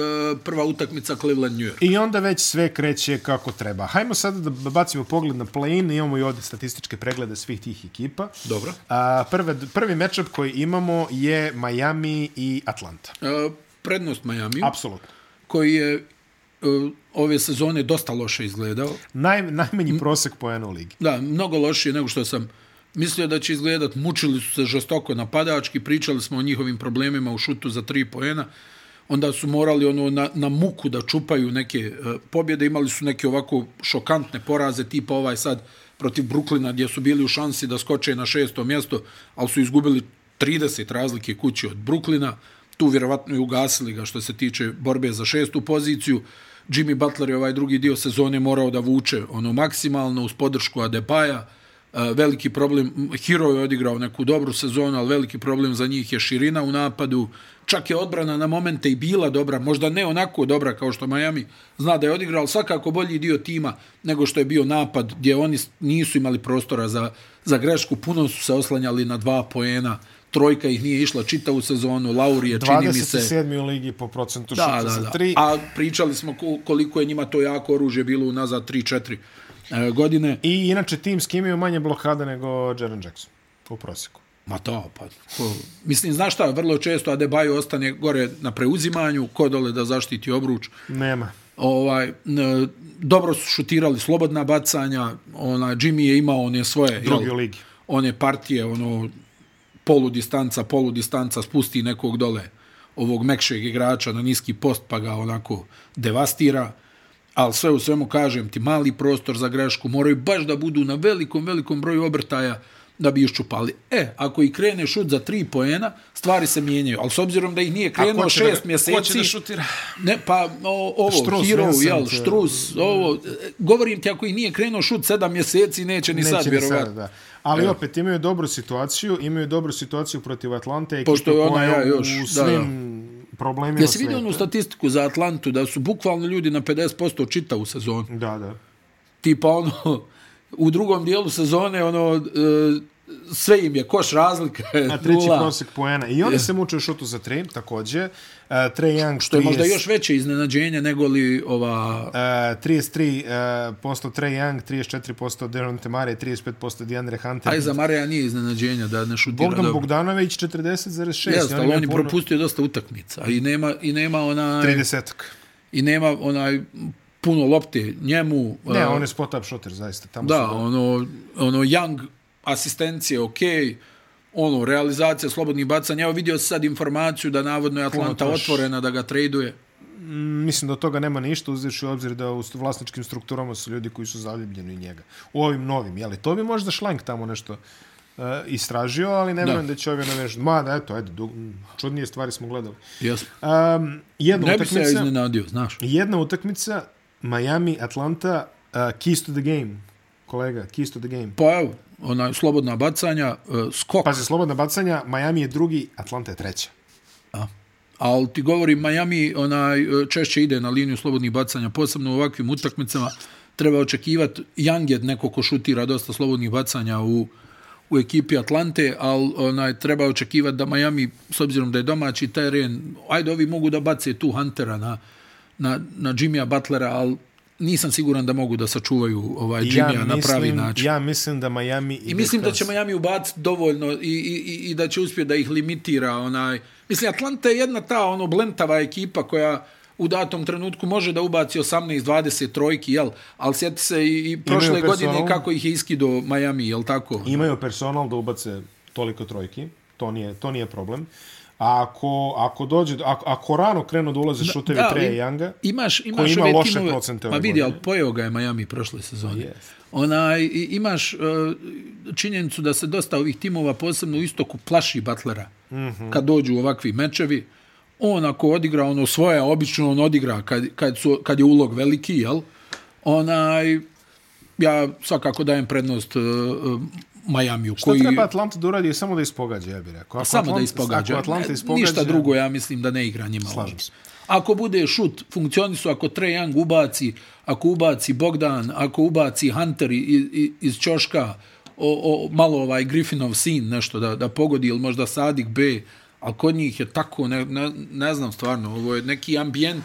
S2: prva utakmica Cleveland-New York.
S1: I onda već sve kreće kako treba. Hajmo sada da bacimo pogled na play-in. Imamo i ovdje statističke preglede svih tih ekipa.
S2: Dobro.
S1: A, prve, prvi matchup koji imamo je Miami i Atlanta.
S2: E, prednost Miami,
S1: Apsolutno.
S2: koji je e, ove sezone dosta loše izgledao.
S1: Naj, najmanji prosek poena u ligi.
S2: Da, mnogo lošije nego što sam mislio da će izgledat. Mučili su se žestoko napadački, pričali smo o njihovim problemima u šutu za tri poena. onda su morali ono na, na muku da čupaju neke e, pobjede, imali su neke ovako šokantne poraze, tipa ovaj sad protiv Bruklina gdje su bili u šansi da skoče na šesto mjesto, ali su izgubili 30 razlike kući od Bruklina, tu vjerovatno i ugasili ga što se tiče borbe za šestu poziciju. Jimmy Butler je ovaj drugi dio sezone morao da vuče ono maksimalno uz podršku Adebaja, E, veliki problem, Hero je odigrao neku dobru sezonu, ali veliki problem za njih je širina u napadu, čak je odbrana na momente i bila dobra, možda ne onako dobra kao što Miami zna da je odigrao, ali svakako bolji dio tima nego što je bio napad, gdje oni s- nisu imali prostora za, za grešku, puno su se oslanjali na dva poena, trojka ih nije išla čitavu sezonu, Lauri je čini mi se...
S1: 27. u ligi po procentu
S2: Da,
S1: šuta
S2: da,
S1: za
S2: da.
S1: 3.
S2: A pričali smo ko- koliko je njima to jako oružje bilo unazad 3-4 e, godine.
S1: I inače tim s kim imaju manje blokada nego Jaren Jackson u prosjeku.
S2: Ma da, pa. Ko, mislim, znaš šta, vrlo često Adebayo ostane gore na preuzimanju, ko dole da zaštiti obruč.
S1: Nema.
S2: Ovaj, n, dobro su šutirali slobodna bacanja, ona, Jimmy je imao one svoje...
S1: Drugi
S2: jel,
S1: u ligi.
S2: One partije, ono, polu distanca, polu distanca, spusti nekog dole ovog mekšeg igrača na niski post, pa ga onako devastira. Ali sve u svemu, kažem ti, mali prostor za grešku, moraju baš da budu na velikom, velikom broju obrtaja da bi iščupali. E, ako i krene šut za tri poena, stvari se mijenjaju. Ali s obzirom da ih nije krenuo
S3: će da-
S2: šest
S3: ko
S2: mjeseci...
S3: će da šutira?
S2: Ne, pa o, ovo,
S1: Štrus,
S2: Štrus, Hero,
S1: Vincent,
S2: jel,
S1: e,
S2: Štrus, ovo, e, govorim ti, ako i nije krenuo šut sedam mjeseci, neće ni neće sad,
S1: Neće ni
S2: vjerovatno.
S1: sada, da. Ali opet imaju dobru situaciju, imaju dobru situaciju protiv Atlante. ekipa
S2: Pošto je ona,
S1: koja
S2: ja, još,
S1: u
S2: da, da.
S1: svim problemima
S2: Jesi vidio
S1: sveta.
S2: onu statistiku za Atlantu da su bukvalno ljudi na 50% čita u sezonu?
S1: Da, da.
S2: Tipa ono, u drugom dijelu sezone, ono, e, sve im je koš razlika, je
S1: A treći
S2: nula,
S1: prosjek poena. I oni se muče u šutu za tri, takođe. Uh, Trae Young
S2: što je možda
S1: 30,
S2: još veće iznenađenje nego li ova...
S1: Uh, 33% uh, posto Trae Young, 34% Deronte Mare, 35% Deandre Hunter.
S2: Aj za Mareja nije iznenađenje da ne šutira
S1: Bogdan
S2: dobro.
S1: Bogdanović 40,6.
S2: Jeste, ali on je
S1: imaju puno-
S2: propustio dosta utakmica i nema, i nema onaj...
S1: 30-ak.
S2: i nema onaj puno lopte njemu.
S1: Ne,
S2: e,
S1: on je spot up shooter, zaista. Tamo
S2: da,
S1: su-
S2: ono, ono Young asistencije, ok, ono, realizacija slobodnih bacanja. Evo vidio sam sad informaciju da navodno je Atlanta
S1: troši.
S2: otvorena da ga traduje.
S1: Mislim da od toga nema ništa, uzevši u obzir da u vlasničkim strukturama su ljudi koji su zaljubljeni u njega. U ovim novim, jeli? To bi možda šlank tamo nešto uh, istražio, ali ne vjerujem da. će ovaj naveš... Ma, da, eto, ajde, dug... čudnije stvari smo gledali.
S2: Jesmo.
S1: Um, jedna
S2: Ne bi se ja
S1: utakmica,
S2: iznenadio, znaš.
S1: jedna utakmica, Miami, Atlanta, uh, keys to the game. Kolega, keys to the game.
S2: Pa evo, onaj, slobodna bacanja, e, skok.
S1: Pazi, slobodna bacanja, Miami je drugi, Atlanta je treća.
S2: Ali ti govorim, Miami onaj, e, češće ide na liniju slobodnih bacanja, posebno u ovakvim utakmicama. Treba očekivati, Young je neko ko šutira dosta slobodnih bacanja u, u ekipi Atlante, ali onaj, treba očekivati da Miami, s obzirom da je domaći teren, ajde ovi mogu da bace tu Huntera na, na, na Jimmya Butlera, ali nisam siguran da mogu da sačuvaju ovaj Jimmya na pravi način.
S1: Ja mislim da Miami...
S2: I mislim da će Miami ubaciti dovoljno i, i, i- i da će uspjeti da ih limitira. Onaj. Mislim, Atlanta je jedna ta ono blentava ekipa koja u datom trenutku može da ubaci 18-20 trojki, jel? Ali sjeti se i, i prošle
S1: personal.
S2: godine kako ih je iskido Miami, jel tako?
S1: imaju personal da ubace toliko trojki, to nije, to nije problem. A ako, ako dođe, do- ako, ako rano krenu da ulaze šutevi
S2: da,
S1: Treja
S2: ali-
S1: Younga,
S2: Imaš, imaš
S1: ima
S2: ove
S1: loše
S2: timove-
S1: procente ove
S2: Ma vidi,
S1: godine.
S2: ali pojeo ga je Miami prošle sezone.
S1: Jest.
S2: Onaj, i- imaš uh, činjenicu da se dosta ovih timova, posebno u istoku, plaši Butlera. Mm
S1: Mhm.
S2: -hmm. Kad dođu ovakvi mečevi, on ako odigra ono svoje, obično on odigra kad, kad, su, kad je ulog veliki, jel? Onaj, ja svakako dajem prednost uh, uh, Majamiju.
S1: što treba Atlanta da uradi je samo da ispogađa, ja bih rekao. Ako
S2: Samo da
S1: Atlanta-
S2: ispogađa.
S1: Ako Atlanta
S2: Ne,
S1: ispogađa,
S2: Ništa drugo, ja mislim da ne igra njima.
S1: Slažem se.
S2: Ako bude šut, funkcionisu, ako Trae Young ubaci, ako ubaci Bogdan, ako ubaci Hunter i- i- iz Ćoška, o, o, malo ovaj Griffinov sin nešto da, da pogodi, ili možda Sadik B, ali kod njih je tako, ne, ne, ne znam stvarno, ovo je neki ambijent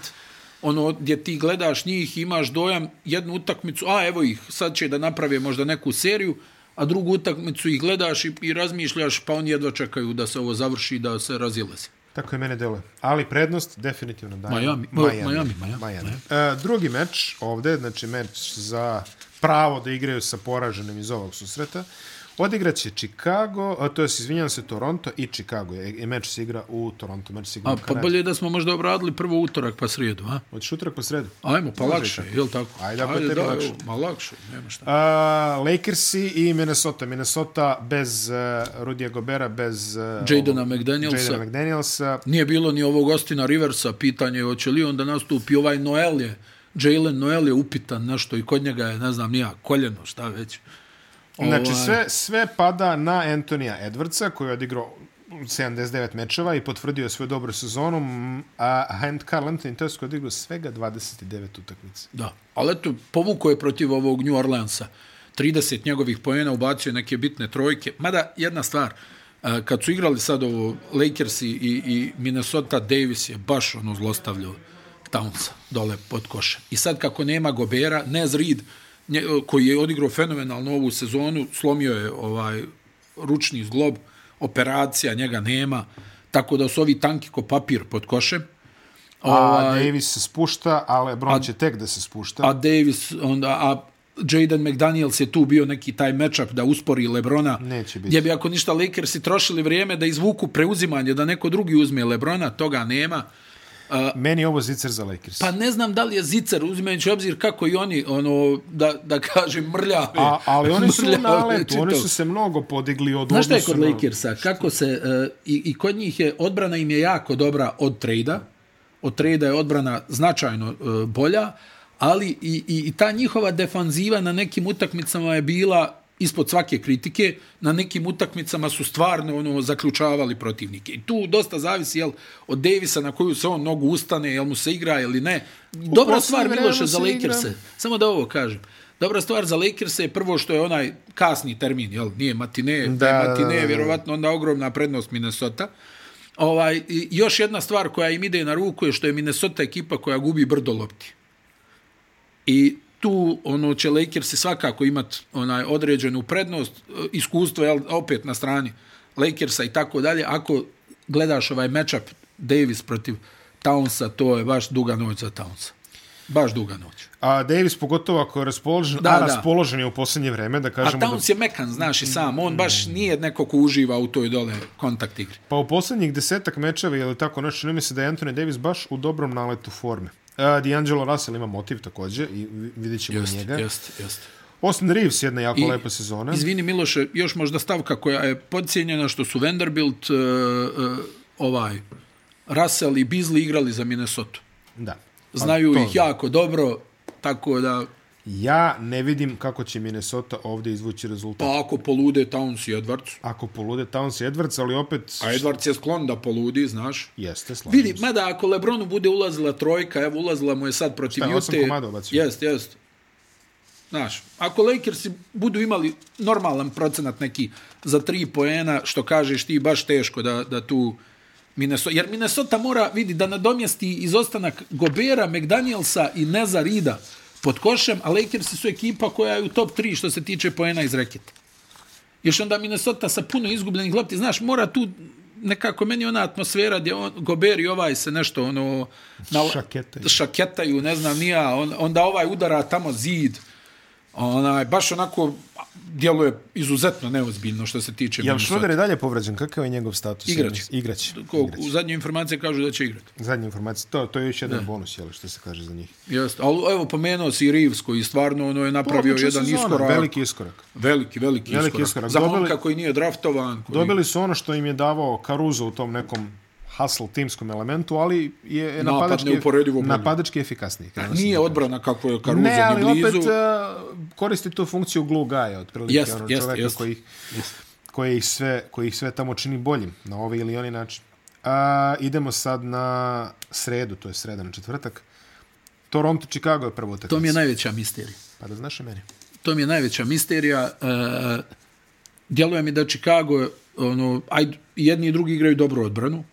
S2: ono gdje ti gledaš njih i imaš dojam jednu utakmicu, a evo ih, sad će da naprave možda neku seriju, a drugu utakmicu ih gledaš i, i razmišljaš, pa oni jedva čekaju da se ovo završi, da se razilaze.
S1: Tako je mene dele. Ali prednost definitivno daje.
S2: Miami. Ma- Miami, Miami,
S1: Miami. E, drugi meč ovde, znači meč za pravo da igraju sa poraženim iz ovog susreta. Odigraće Chicago, a to je, izvinjam se, Toronto i Chicago. E, e, meč se igra u Toronto, meč se igra
S2: A,
S1: u
S2: pa
S1: Kanadi.
S2: bolje da smo možda obradili prvo utorak pa srijedu, a?
S1: Hoćeš utorak po sredu?
S2: Ajmo, pa
S1: Može
S2: lakše,
S1: tako.
S2: je li tako?
S1: Ajde, ako je tebi
S2: da,
S1: lakše.
S2: evo, Ma lakše, nema šta.
S1: A, Lakersi i Minnesota. Minnesota bez uh, Rudija Gobera, bez... Uh,
S2: Jadena McDanielsa.
S1: Jadena McDanielsa.
S2: Nije bilo ni ovog Ostina Riversa, pitanje je hoće li on da nastupi. Ovaj Noel je, Jalen Noel je upitan nešto i kod njega je, ne znam, nija koljeno, šta već. Ovaj.
S1: Znači, sve, sve pada na Antonija Edwardsa, koji je odigrao 79 mečeva i potvrdio svoju dobru sezonu, m, a Hand Carl Anthony Towns koji je odigrao svega 29 utakmice.
S2: Da, ali eto, povuko je protiv ovog New Orleansa. 30 njegovih poena ubacio je neke bitne trojke. Mada, jedna stvar, e, kad su igrali sad ovo Lakers i, i, i Minnesota, Davis je baš ono zlostavljao Townsa dole pod košem. I sad kako nema Gobera, Nez Reed, nje, koji je odigrao fenomenalno ovu sezonu, slomio je ovaj ručni zglob, operacija, njega nema, tako da su ovi tanki ko papir pod košem.
S1: A Davis se spušta, a LeBron će tek da se spušta.
S2: Ovaj. a Davis, onda, a Jaden McDaniels je tu bio neki taj matchup da uspori Lebrona.
S1: Neće biti.
S2: Gdje bi ako ništa Lakersi trošili vrijeme da izvuku preuzimanje, da neko drugi uzme Lebrona, toga nema.
S1: Meni je ovo zicer za Lakers.
S2: Pa ne znam da li je Zicar, uzimajući obzir kako i oni, ono, da, da kažem, mrljave.
S1: A, ali oni su
S2: mrljave
S1: na letu, oni
S2: čitao.
S1: su se mnogo podigli od
S2: Znaš šta je
S1: odnosu
S2: kod
S1: na-
S2: Lakersa? Kako se, e, i, i kod njih je, odbrana im je jako dobra od trejda, od trejda je odbrana značajno e, bolja, ali i, i, i ta njihova defanziva na nekim utakmicama je bila ispod svake kritike, na nekim utakmicama su stvarno ono zaključavali protivnike. I tu dosta zavisi jel, od Davisa na koju se on nogu ustane, jel mu se igra ili ne. Dobra
S1: posljednje
S2: stvar
S1: vreme
S2: Miloše
S1: se
S2: za
S1: igra.
S2: Lakerse. Samo da ovo kažem. Dobra stvar za Lakers je prvo što je onaj kasni termin, jel? Nije matine, da,
S1: da,
S2: je
S1: da,
S2: matine,
S1: da, da.
S2: vjerovatno onda ogromna prednost Minnesota. Ovaj, i još jedna stvar koja im ide na ruku je što je Minnesota ekipa koja gubi brdo lopti. I tu ono će Lakersi svakako imat onaj određenu prednost, e, iskustvo je opet na strani Lakersa i tako dalje. Ako gledaš ovaj matchup Davis protiv Townsa, to je baš duga noć za Townsa. Baš duga noć.
S1: A Davis pogotovo ako je raspoložen,
S2: Da,
S1: a
S2: da.
S1: raspoložen je u posljednje vreme, da
S2: A
S1: kažemo da Mm.
S2: Towns je mekan, znaš i sam. On baš nije neko ko uživa u toj dole kontakt igri.
S1: Pa u posljednjih desetak mečeva, ili tako nešto, čini mi se da je Anthony Davis baš u dobrom naletu forme. Uh, D'Angelo Russell ima motiv također i vi- vidjet ćemo
S2: Jeste,
S1: njega. Pa
S2: jeste, jeste.
S1: Austin Reeves jedna jako
S2: I-
S1: lepa sezona.
S2: Izvini Miloše, još možda stavka koja je podcijenjena što su Vanderbilt, uh, uh, ovaj, Russell i Beasley igrali za Minnesota.
S1: Da.
S2: Znaju
S1: Pa to-
S2: ih jako dobro, tako da,
S1: Ja ne vidim kako će Minnesota ovdje izvući rezultat.
S2: pa ako polude Towns i Edwards,
S1: Ako polude Towns i Edwards, ali opet
S2: a Edwards je sklon da poludi, znaš.
S1: jeste slavno.
S2: Vidi, mada ako Lebronu bude ulazila trojka, evo ulazila mu je sad protiv
S1: Šta je, osam
S2: Jute.
S1: komada obacio?
S2: Jest, jest. Znaš, ako Lakersi budu imali normalan procenat neki za tri poena, što kažeš ti, baš teško da, da tu Minnesota, jer Minnesota mora, vidi, da nadomjesti izostanak Gobera, McDanielsa i Neza Rida pod košem, a Lakersi su ekipa koja je u top 3 što se tiče poena iz reketa. Još onda Minnesota sa puno izgubljenih lopti, znaš, mora tu nekako meni ona atmosfera gdje on, Gober i ovaj se nešto ono na,
S1: Šaketaju.
S2: šaketaju, ne znam nija, on, onda ovaj udara tamo zid. Onaj, baš onako djeluje izuzetno neozbiljno što se tiče
S1: Jel
S2: Minnesota.
S1: Šroder je dalje povređen? Kakav je njegov status?
S2: Igrač.
S1: Igrać.
S2: Ko, u zadnje informacije kažu da će igrati.
S1: Zadnja informacija. To, to je još jedan bonus, jel, što se kaže za njih.
S2: Jeste. Ali evo, pomenuo si i Reeves koji stvarno ono je napravio
S1: Odlična
S2: jedan
S1: sezona,
S2: iskorak. Veliki,
S1: Veliki iskorak.
S2: veliki, veliki,
S1: Veliki
S2: iskorak.
S1: iskorak.
S2: Za
S1: Dobili-
S2: momka koji nije draftovan. Koji...
S1: Dobili su ono što im je davao Caruso u tom nekom hustle timskom elementu, ali je
S2: Napad
S1: napadački,
S2: neuporedivo bolji. Pa
S1: napadački efikasniji. krenuo sam
S2: Nije
S1: da
S2: odbrana kako je
S1: kažem.
S2: Caruso
S1: Ne, ali
S2: ni blizu.
S1: opet uh, koristi tu funkciju glue guy otprilike
S2: Jest,
S1: ono
S2: jest,
S1: čoveka
S2: jest.
S1: koji, koji, ih sve, koji ih sve tamo čini boljim na ovaj ili onaj način. Uh, idemo sad na sredu, to je sreda na četvrtak. Toronto, Chicago je prvo utakmica.
S2: To mi je najveća misterija.
S1: Pa da znaš i meni.
S2: to mi je najveća misterija. E, djeluje mi da Chicago, ono, aj, jedni i drugi igraju dobru odbranu.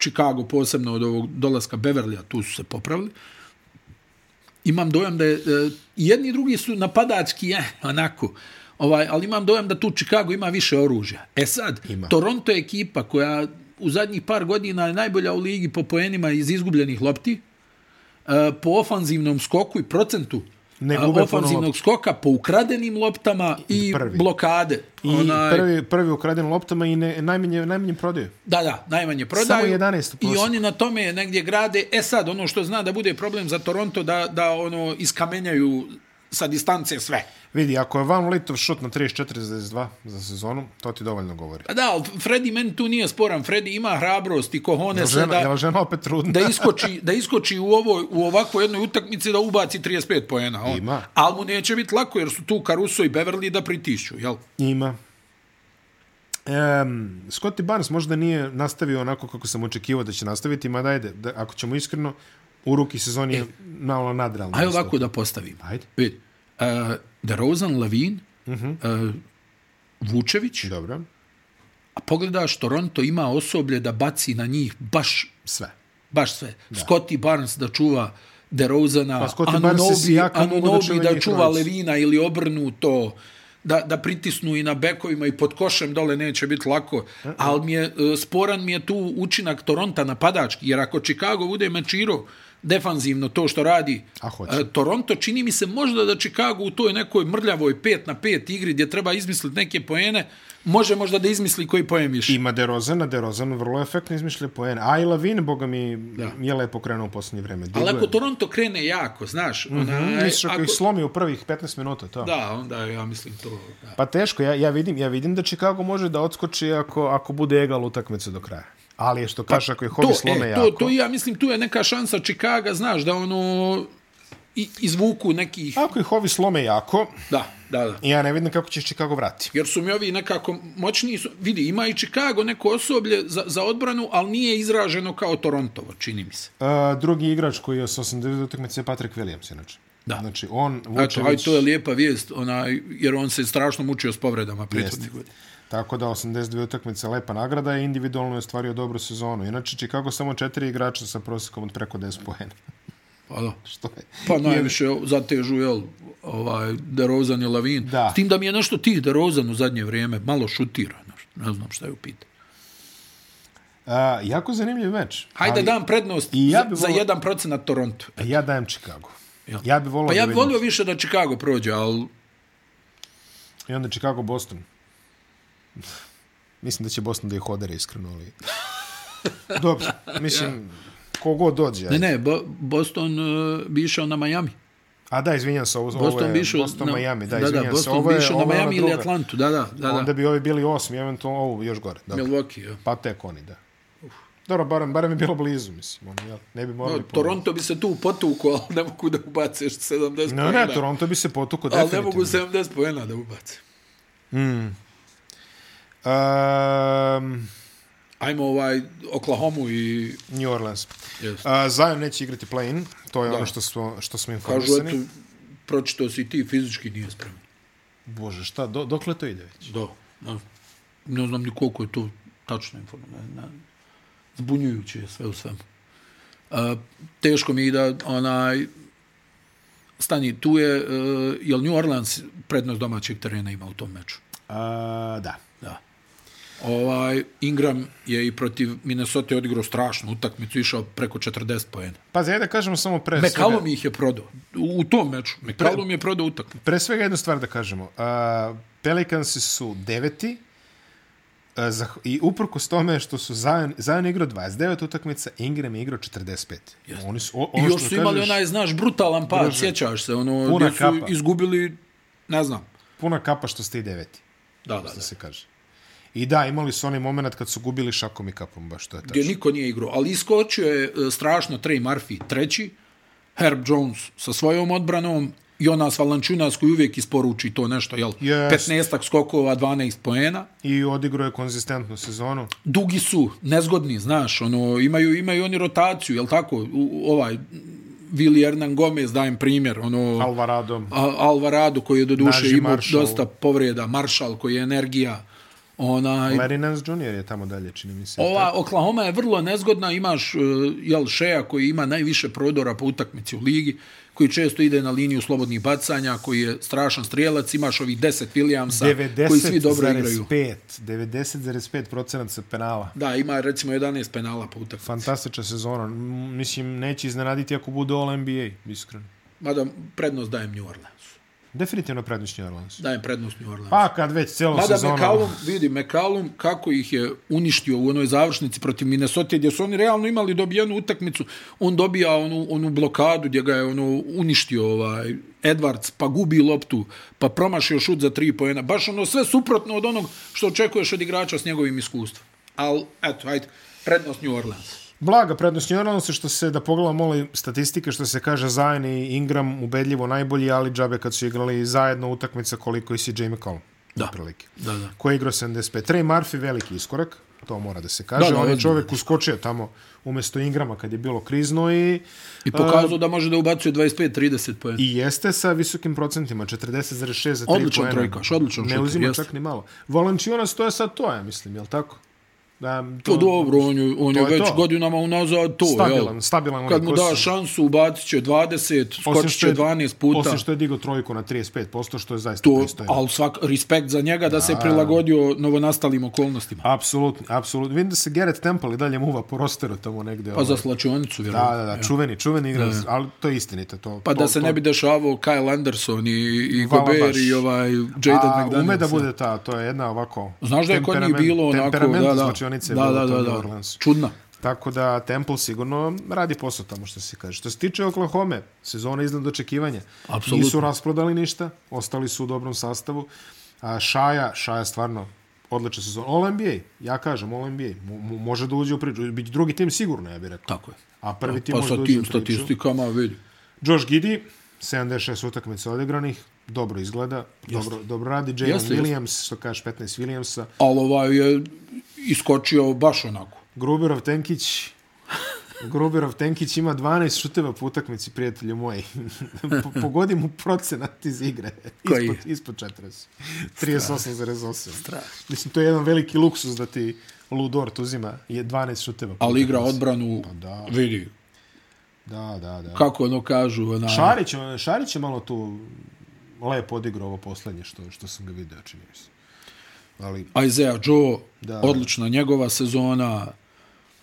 S2: Chicago posebno od ovog dolaska Beverlija, tu su se popravili. Imam dojam da je, e, i jedni i drugi su napadački, eh, onako, ovaj, ali imam dojam da tu Chicago ima više oružja. E sad,
S1: Ima.
S2: Toronto je ekipa koja u zadnjih par godina je najbolja u ligi po poenima iz izgubljenih lopti, e, po ofanzivnom skoku i procentu
S1: Ne
S2: a,
S1: gube puno
S2: ofanzivnog
S1: lopti.
S2: skoka po ukradenim loptama i
S1: Prvi.
S2: blokade.
S1: I prvi, prvi ukraden loptama i ne, najmanje, najmanje prodaje.
S2: Da, da, najmanje prodaju.
S1: Samo 11 u
S2: I
S1: prosjeku.
S2: oni na tome negdje grade. E sad, ono što zna da bude problem za Toronto, da, da ono iskamenjaju sa distance sve.
S1: Vidi, ako je Van Litov šut na 34,2 za sezonu, to ti dovoljno govori.
S2: Pa da, ali Freddy meni tu nije sporan. Freddy ima hrabrost i kohone
S1: Jel
S2: se
S1: žena,
S2: da,
S1: jel žena opet trudna?
S2: da, iskoči, da iskoči u, ovoj, u ovako jednoj utakmici da ubaci 35 poena. On.
S1: Ima.
S2: Ali mu neće biti lako jer su tu Caruso i Beverly da pritišću, jel?
S1: Ima. Um, Scotty Barnes možda nije nastavio onako kako sam očekivao da će nastaviti, mada ajde, da, ako ćemo iskreno, u ruki sezoni je malo nadrealno.
S2: E. Ajde ovako da postavimo.
S1: Ajde.
S2: Vidi, uh, DeRozan, Lavin, uh -huh. uh, Vučević,
S1: Dobro,
S2: A pogledaš, Toronto ima osoblje da baci na njih baš,
S1: sve.
S2: baš sve. Da. Scotty Barnes da čuva DeRozana,
S1: Pa, Scotty Barnes i
S2: Anunobi,
S1: Sijakam mogu da
S2: Anunobi
S1: čuvaju
S2: da, da
S1: njih
S2: čuva
S1: trojicu.
S2: Levina ili obrnuto, da, da pritisnu i na bekovima i pod košem dole neće biti lako. Ali mi je, e, sporan mi je tu učinak Toronta napadački, jer ako Chicago bude mečiro defanzivno to što radi,
S1: A hoće.
S2: e, Toronto čini mi se možda da Chicago u toj nekoj mrljavoj 5 na 5 igri gdje treba izmisliti neke poene, može možda da izmisli koji poen više.
S1: Ima DeRozana, DeRozan vrlo efektno izmišlja poen. A i Lavin, boga mi, je lepo krenuo u posljednje vreme.
S2: Ali
S1: Diguje.
S2: ako Toronto krene jako, znaš, mm
S1: Mm,
S2: -hmm,
S1: Misliš ako
S2: onaj,
S1: ih
S2: ako,
S1: slomi u prvih 15 minuta, to?
S2: da, onda ja mislim Pa. to. Da.
S1: Pa teško, ja, ja, vidim, ja vidim da Chicago može da odskoči ako, ako bude egal utakmicu do kraja. Ali je što kažeš, ako ih ovi
S2: To,
S1: slome
S2: Pa e,
S1: jako...
S2: to, to ja mislim, tu je neka šansa Čikaga, znaš, da ono i, izvuku nekih,
S1: Ako ih ovi slome jako,
S2: da, da, da.
S1: ja ne vidim kako će Chicago vrati.
S2: Jer su mi ovi nekako moćniji, su, vidi, ima i Chicago neko osoblje za, za odbranu, ali nije izraženo kao Torontovo, čini mi se.
S1: Uh, drugi igrač koji je s 89 utakmice je Patrick Williams, inače.
S2: Da.
S1: Znači, on, Vučević,
S2: Eto, aj, to je lijepa vijest, onaj, jer on se strašno mučio s povredama prethodnih
S1: Jeste.
S2: godina.
S1: tako da 82 utakmice lepa nagrada i individualno je ostvario dobru sezonu. Inače, Chicago samo četiri igrača sa prosjekom od preko 10 poena.
S2: Pa da.
S1: Što je?
S2: Pa najviše zatežu, jel, ovaj, DeRozan i Lavin.
S1: Da.
S2: S tim da mi je nešto tih DeRozan u zadnje vrijeme malo šutira. znaš, Ne znam šta je u pitanju.
S1: Uh, jako zanimljiv meč.
S2: Hajde
S1: ali
S2: dam prednost
S1: I ja
S2: ja
S1: bi
S2: za
S1: volao-
S2: jedan procenat Toronto.
S1: Ja dajem Chicago.
S2: Jel?
S1: Ja bi volao
S2: Pa ja
S1: da
S2: bi
S1: vidim.
S2: volio više da Chicago prođe, ali
S1: I onda Chicago, Boston. Mislim da će Boston da ih odere iskreno, ali... Dobro, mislim, kogod dođe.
S2: ne, ne, Bo Boston uh, bi išao na Miami.
S1: A da, izvinjam se, ovo, ovo
S2: Boston
S1: je
S2: bi išao
S1: Boston,
S2: na,
S1: Miami. Da,
S2: da, da
S1: izvinjam se,
S2: Boston
S1: ovo
S2: bi
S1: je,
S2: išao na
S1: ovo je ona
S2: Miami ili
S1: druga.
S2: Atlantu, da, da, da, da.
S1: Onda bi ovi bili osmi, eventualno ovo još gore. Da.
S2: Milwaukee, ja.
S1: Pa tek oni, da. Dobro, barem, barem je bilo blizu, mislim. Ono, jel, ne bi morali... puno.
S2: Toronto bi se tu potuko, ali ne mogu da ubace 70
S1: Ne, ne, Toronto bi se potukao
S2: ali
S1: definitivno.
S2: ne mogu 70 pojena da ubace.
S1: Um,
S2: Ajmo ovaj Oklahoma i
S1: New Orleans.
S2: Jeste.
S1: Uh, Zion neće igrati play-in, to je da. ono što smo, što smo
S2: Kažu,
S1: informisani.
S2: eto, pročitao si ti, fizički nije spreman.
S1: Bože, šta, do, dokle to ide već?
S2: Da. da. Ne znam ni koliko je to tačno informacija. Ne, ne. Zbunjujuće je sve u svemu. A, teško mi je da, onaj, stani, tu je, uh, jel New Orleans prednost domaćeg terena ima u tom meču?
S1: Uh, da.
S2: Da. Ovaj, Ingram je i protiv Minnesota odigrao strašnu utakmicu, išao preko 40 poena.
S1: Pa zajed da kažemo samo pre svega,
S2: McCallum ih E, je prodao. U, u tom meču. McCallum je prodao utakmicu.
S1: pre svega jednu stvar da kažemo. Uh, Pelicansi su deveti uh, za, i uprkos tome što su Zion, Zion igrao 29 utakmica, Ingram je igrao 45. Yes. Oni su, o,
S2: I
S1: ono
S2: još
S1: što
S2: su imali
S1: kažeš,
S2: onaj, znaš, brutalan pad,
S1: Druže,
S2: sjećaš se, ono,
S1: puna
S2: gdje su
S1: kapa.
S2: izgubili, ne znam.
S1: Puna kapa što ste i deveti,
S2: Da, da,
S1: da
S2: da.
S1: se kaže. I da, imali su onaj moment kad su gubili šakom i kapom, baš to je tako.
S2: Gdje niko nije igrao. Ali iskočio je e, strašno Trey Murphy treći, Herb Jones sa svojom odbranom, Jonas Valančunas koji uvijek isporuči to nešto, jel?
S1: Jest.
S2: 15 skokova, 12 poena.
S1: I odigrao je konzistentnu sezonu.
S2: Dugi su, nezgodni, znaš, ono, imaju, imaju oni rotaciju, jel tako? U- U, ovaj, Vili Hernan Gomez, dajem primjer, ono...
S1: Alvarado.
S2: Al- Alvarado koji je do duše
S1: Naži
S2: imao
S1: Marshall.
S2: dosta povreda, Marshall koji je energija, onaj...
S1: Larry Nance Jr. je tamo dalje, čini mi se.
S2: Ova Oklahoma je vrlo nezgodna, imaš eh, jel Shea koji ima najviše prodora po utakmici u ligi, koji često ide na liniju slobodnih bacanja, koji je strašan strijelac, imaš ovih 10 Williamsa koji svi dobro igraju.
S1: 90,5 90,5 procenat sa penala.
S2: Da, ima recimo 11 penala po utakmici.
S1: Fantastična sezona. M, Mislim, neće iznenaditi ako bude All NBA, iskreno.
S2: Mada prednost dajem New Orleansu.
S1: Definitivno prednost New Orleans.
S2: Dajem prednost New Orleansu.
S1: Pa kad već celo
S2: Mada
S1: sezono...
S2: McCallum, vidi, McCallum kako ih je uništio u onoj završnici protiv Minnesota, gdje su oni realno imali dobijenu utakmicu. On dobija onu, onu blokadu gdje ga je ono uništio ovaj, Edwards, pa gubi loptu, pa promašio šut za tri pojena. Baš ono sve suprotno od onog što očekuješ od igrača s njegovim iskustvom. Ali, eto, ajde, prednost New Orleans.
S1: Blaga prednost New Orleansa što se, da pogledam moli statistike, što se kaže Zion i Ingram ubedljivo najbolji, ali džabe kad su igrali zajedno utakmica koliko i CJ McCollum.
S2: Da.
S1: Prilike.
S2: Da, da.
S1: Koji je igrao 75. Trey Murphy veliki iskorak, to mora da se kaže. Da,
S2: Da, da,
S1: da, On je
S2: ozbiljno.
S1: čovjek uskočio tamo umjesto Ingrama kad je bilo krizno i,
S2: I pokazao da može da ubacuje 25-30 pojena.
S1: i jeste sa visokim procentima, 40,6 za 3
S2: Odličan trojkaš, odličan
S1: Ne
S2: šuter,
S1: uzima
S2: jeste.
S1: čak ni malo. Valanciunas to je sad to, ja mislim, jel tako? Da,
S2: Pa dobro, on je, on
S1: to
S2: je
S1: je
S2: već
S1: to.
S2: godinama unazad to, jel?
S1: Stabilan, stabilan.
S2: Kad
S1: lik,
S2: mu
S1: osim-
S2: da šansu, ubacit će 20,
S1: osim
S2: skočit
S1: što
S2: će
S1: je-
S2: 12 puta.
S1: Osim što je digao trojku na 35%, što je zaista
S2: To,
S1: pristojno.
S2: ali svak, respekt za njega da se prilagodio novonastalim okolnostima.
S1: Apsolutno, apsolutno. Vidim da se Garrett Temple i dalje muva po rosteru tamo negde.
S2: Pa
S1: ovaj.
S2: za
S1: Da,
S2: slačionicu, vjerovatno.
S1: da, da, čuveni, čuveni igrač, ali to je istinito. To,
S2: Pa
S1: to,
S2: da se
S1: to,
S2: ne bi dešavao Kyle Anderson i, i
S1: Hvala
S2: Gobert
S1: baš.
S2: i ovaj
S1: A,
S2: Jaden McDaniels.
S1: ume da bude ta, to je jedna ovako...
S2: Znaš da je kod njih
S1: temperament-
S2: bilo onako, da,
S1: Temperament
S2: da.
S1: zvučionice je
S2: da,
S1: bilo
S2: da,
S1: to
S2: da,
S1: u
S2: da.
S1: New Orleansu.
S2: Čudna.
S1: Tako da Temple sigurno radi posao tamo što se kaže. Što se tiče Oklahoma, sezona iznad očekivanja.
S2: Apsolutno.
S1: Nisu rasprodali ništa, ostali su u dobrom sastavu. A Šaja, Šaja stvarno odlična sezona. All NBA, ja kažem All NBA, mo- mo- može da uđe u priču. Biće drugi tim sigurno, ja bih rekao.
S2: Tako je.
S1: A prvi tim
S2: Pa
S1: može da uđe
S2: sa
S1: u
S2: tim
S1: priču.
S2: statistikama, vidi.
S1: Josh Giddy, 76 utakmica odigranih, dobro izgleda, dobro, dobro radi. Jalen
S2: Jeste, jeste.
S1: Williams, što kaže 15 Williamsa.
S2: Ali ovaj je iskočio baš onako.
S1: Grubirov Tenkić Grubirov Tenkić ima 12 šuteva po utakmici, prijatelju moji. Po- Pogodi mu procenat iz igre.
S2: Koji?
S1: Ispod, ispod 40. 38,8. Mislim, to je jedan veliki luksus da ti Ludort uzima je 12 šuteva. po
S2: Ali igra
S1: utakmici.
S2: odbranu,
S1: da.
S2: vidi.
S1: Da, da, da.
S2: Kako ono kažu, onaj...
S1: Šarić, on- Šarić je malo tu lepo odigrao ovo poslednje što, što sam ga video, čini mi se. Ali
S2: Isaiah Joe, da.
S1: Da.
S2: odlična njegova sezona,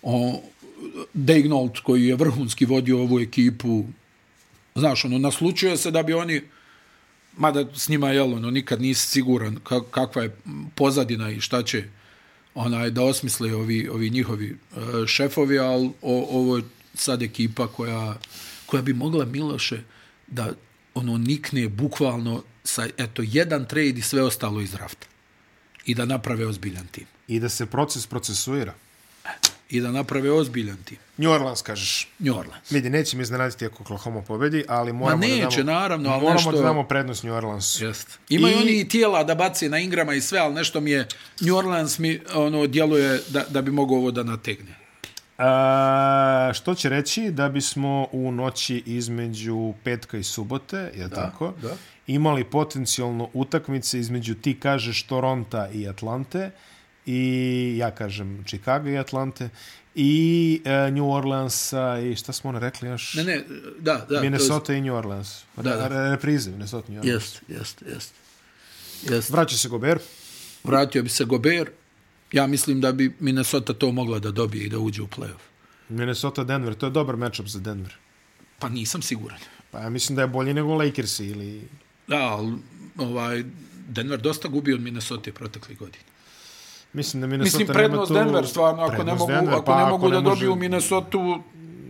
S2: o, Degnault koji je vrhunski vodio ovu ekipu, znaš, ono, naslučuje se da bi oni, mada s njima, jel, ono, nikad nisi siguran ka, kakva je pozadina i šta će onaj, da osmisle ovi, ovi njihovi e, šefovi, ali o, ovo je sad ekipa koja, koja bi mogla Miloše da ono nikne bukvalno sa eto jedan trade i sve ostalo iz rafta i da naprave ozbiljan tim.
S1: i da se proces procesuira.
S2: I da naprave ozbiljan tim.
S1: New Orleans, kažeš.
S2: New Orleans.
S1: Vidi, neće mi iznenaditi ako Oklahoma pobedi, ali moramo da
S2: neće,
S1: damo,
S2: naravno, ali
S1: moramo
S2: nešto-
S1: da damo prednost New Orleansu.
S2: Jest. Imaju
S1: I-
S2: oni i tijela da bace na Ingrama i sve, ali nešto mi je, New Orleans mi ono, djeluje da, da bi mogo ovo da nategne.
S1: A, što će reći da bismo u noći između petka i subote, je da, tako,
S2: da.
S1: imali potencijalno utakmice između ti kažeš Toronta i Atlante i ja kažem Chicago i Atlante i e, New Orleansa i šta smo ono rekli još?
S2: Ne, ne, da, da.
S1: Minnesota i New Orleans.
S2: Da, da.
S1: Re- Reprize Minnesota i New Orleans.
S2: Jest, jest, jest. Jest.
S1: Vraća se Gober.
S2: Vratio bi se Gober. Ja mislim da bi Minnesota to mogla da dobije i da uđe u playoff.
S1: Minnesota Denver, to je dobar matchup za Denver.
S2: Pa nisam siguran.
S1: Pa ja mislim da je bolji nego Lakersi ili
S2: Da, ali ovaj, Denver dosta gubi od Minnesota proteklih godina.
S1: mislim da Minnesota
S2: Mislim,
S1: nema
S2: prednost
S1: tu...
S2: Denver, stvarno, ako ne
S1: Prednost
S2: mogu,
S1: Denver,
S2: ako
S1: pa
S2: ne mogu da
S1: može- Pa
S2: dobiju Minnesota,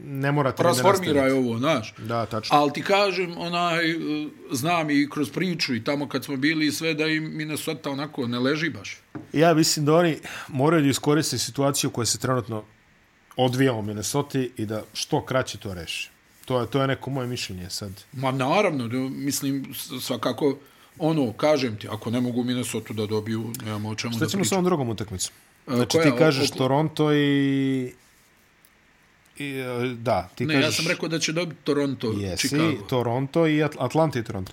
S1: ne mora trener
S2: transformiraj
S1: nastaviti.
S2: ovo, znaš.
S1: Da, tačno.
S2: Ali ti kažem, onaj, eh, znam i kroz priču i tamo kad smo bili i sve, da im Minnesota onako ne leži baš.
S1: Ja mislim da oni moraju da iskoriste situaciju koja se trenutno odvija u Minnesota i da što kraće to reše. To je, to je neko moje mišljenje sad.
S2: Ma naravno, da, mislim, s- svakako, ono, kažem ti, ako ne mogu Minnesota da dobiju, nemamo o čemu
S1: Šta
S2: da
S1: ćemo sa
S2: pričamo.
S1: ovom drugom utakmicom?
S2: E,
S1: Znači
S2: koja?
S1: ti kažeš
S2: Okla-
S1: Toronto i... i e, da, ti
S2: Ne,
S1: kažeš...
S2: ja sam rekao da će dobiti Toronto,
S1: Jesi,
S2: Chicago. To...
S1: Toronto i At Atlanta i Toronto.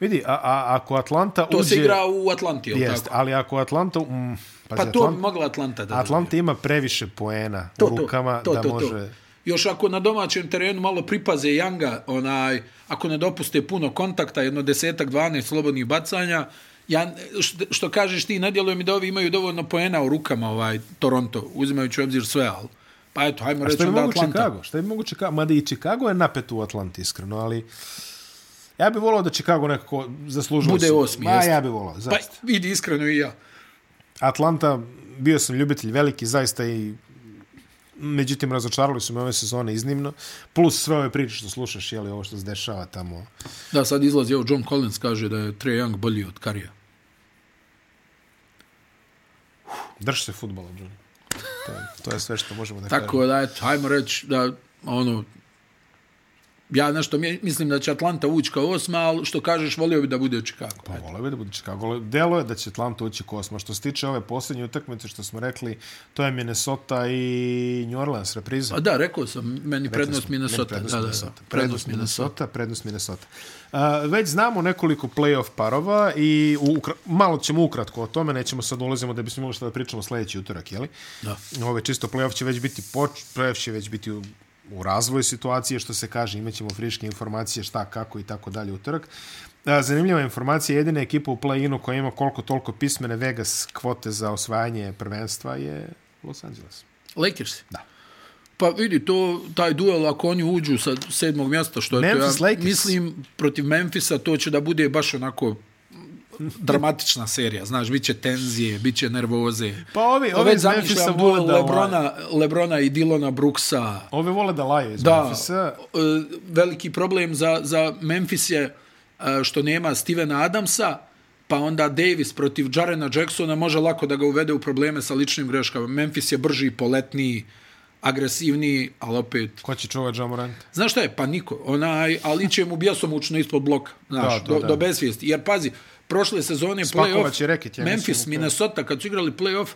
S1: Vidi, a, a ako Atlanta
S2: To
S1: uđe...
S2: se igra u Atlanti, jel
S1: Jest,
S2: tako?
S1: ali ako Atlanta... Mm,
S2: Pa
S1: pazi,
S2: to bi
S1: Atlant,
S2: mogla Atlanta da
S1: Atlanta ima previše poena
S2: to,
S1: u rukama da može...
S2: Još ako na domaćem terenu malo pripaze Janga, onaj, ako ne dopuste puno kontakta, jedno desetak, 12 slobodnih bacanja, ja, što, što kažeš ti, ne djeluje mi da ovi imaju dovoljno poena u rukama, ovaj, Toronto, uzimajući u obzir sve, ali Pa eto, hajmo
S1: A
S2: reći
S1: šta bi
S2: onda
S1: mogu
S2: Atlanta.
S1: Chicago? Šta bi mogu Chicago? Mada i Chicago je napet u Atlanti, iskreno, ali... Ja bih volao da Chicago nekako zaslužio.
S2: Bude
S1: se.
S2: osmi,
S1: Ma,
S2: jeste.
S1: ja bih volao, zaista.
S2: Pa vidi, iskreno i ja.
S1: Atlanta, bio sam ljubitelj veliki, zaista i međutim razočarali su me ove sezone iznimno, plus sve ove priče što slušaš, jeli, ovo što se dešava tamo.
S2: Da, sad izlazi, evo, John Collins kaže da je Trae Young bolji od Karija.
S1: Drž se futbola, Johnny. To, je- to je sve što možemo da kažemo.
S2: Tako da, eto, hajmo reći da, ono, ja nešto mi- mislim da će Atlanta ući kao osma, ali što kažeš, volio bi da bude Chicago.
S1: Pa voleo bi da bude Chicago. Delo je da će Atlanta ući kosma. Što se tiče ove posljednje utakmice što smo rekli, to je Minnesota i New Orleans repriza.
S2: A Pa da, rekao sam, meni
S1: Rekli
S2: prednost
S1: smo, ne,
S2: Minnesota.
S1: Prednost
S2: da, da, da,
S1: Minnesota. Prednost Minnesota. Prednost Minnesota. A, već znamo nekoliko playoff parova i ukra malo ćemo ukratko o tome, nećemo sad ulazimo da bismo imali šta da pričamo sljedeći utorak, jeli?
S2: Da.
S1: Ove čisto playoff će već biti poč, playoff će već biti u, u razvoju situacije, što se kaže, imaćemo friške informacije šta, kako i tako dalje utorak. A, zanimljiva informacija, jedina ekipa u play-inu koja ima koliko toliko pismene Vegas kvote za osvajanje prvenstva je Los Angeles.
S2: Lakers.
S1: Da.
S2: Pa vidi, to, taj duel, ako oni uđu sa sedmog mjesta, što je to, ja
S1: Memphis Lakers.
S2: mislim, protiv Memphisa, to će da bude baš onako dramatična serija, znaš, bit će tenzije, bit će nervoze.
S1: Pa ovi, ovi
S2: Već
S1: iz Memphisa
S2: zamišljam duel
S1: vole da ovaj-
S2: Lebrona, Lebrona i Dilona Brooksa.
S1: Ove vole da laju iz
S2: Da,
S1: Memphisa.
S2: e, veliki problem za, za Memphis je e, što nema Stevena Adamsa, pa onda Davis protiv Jarena Jacksona može lako da ga uvede u probleme sa ličnim greškama. Memphis je brži, poletniji, agresivniji, ali opet...
S1: Ko će čuvati Jamoranta?
S2: Znaš šta je? Pa niko. Onaj, ali će mu bjesomučno ispod bloka, znaš,
S1: Da, da,
S2: do,
S1: da.
S2: do besvijesti. Jer pazi, prošle sezone
S1: Spakovat
S2: playoff,
S1: će reket, ja mislim,
S2: Memphis,
S1: u to.
S2: Minnesota, kad su igrali playoff,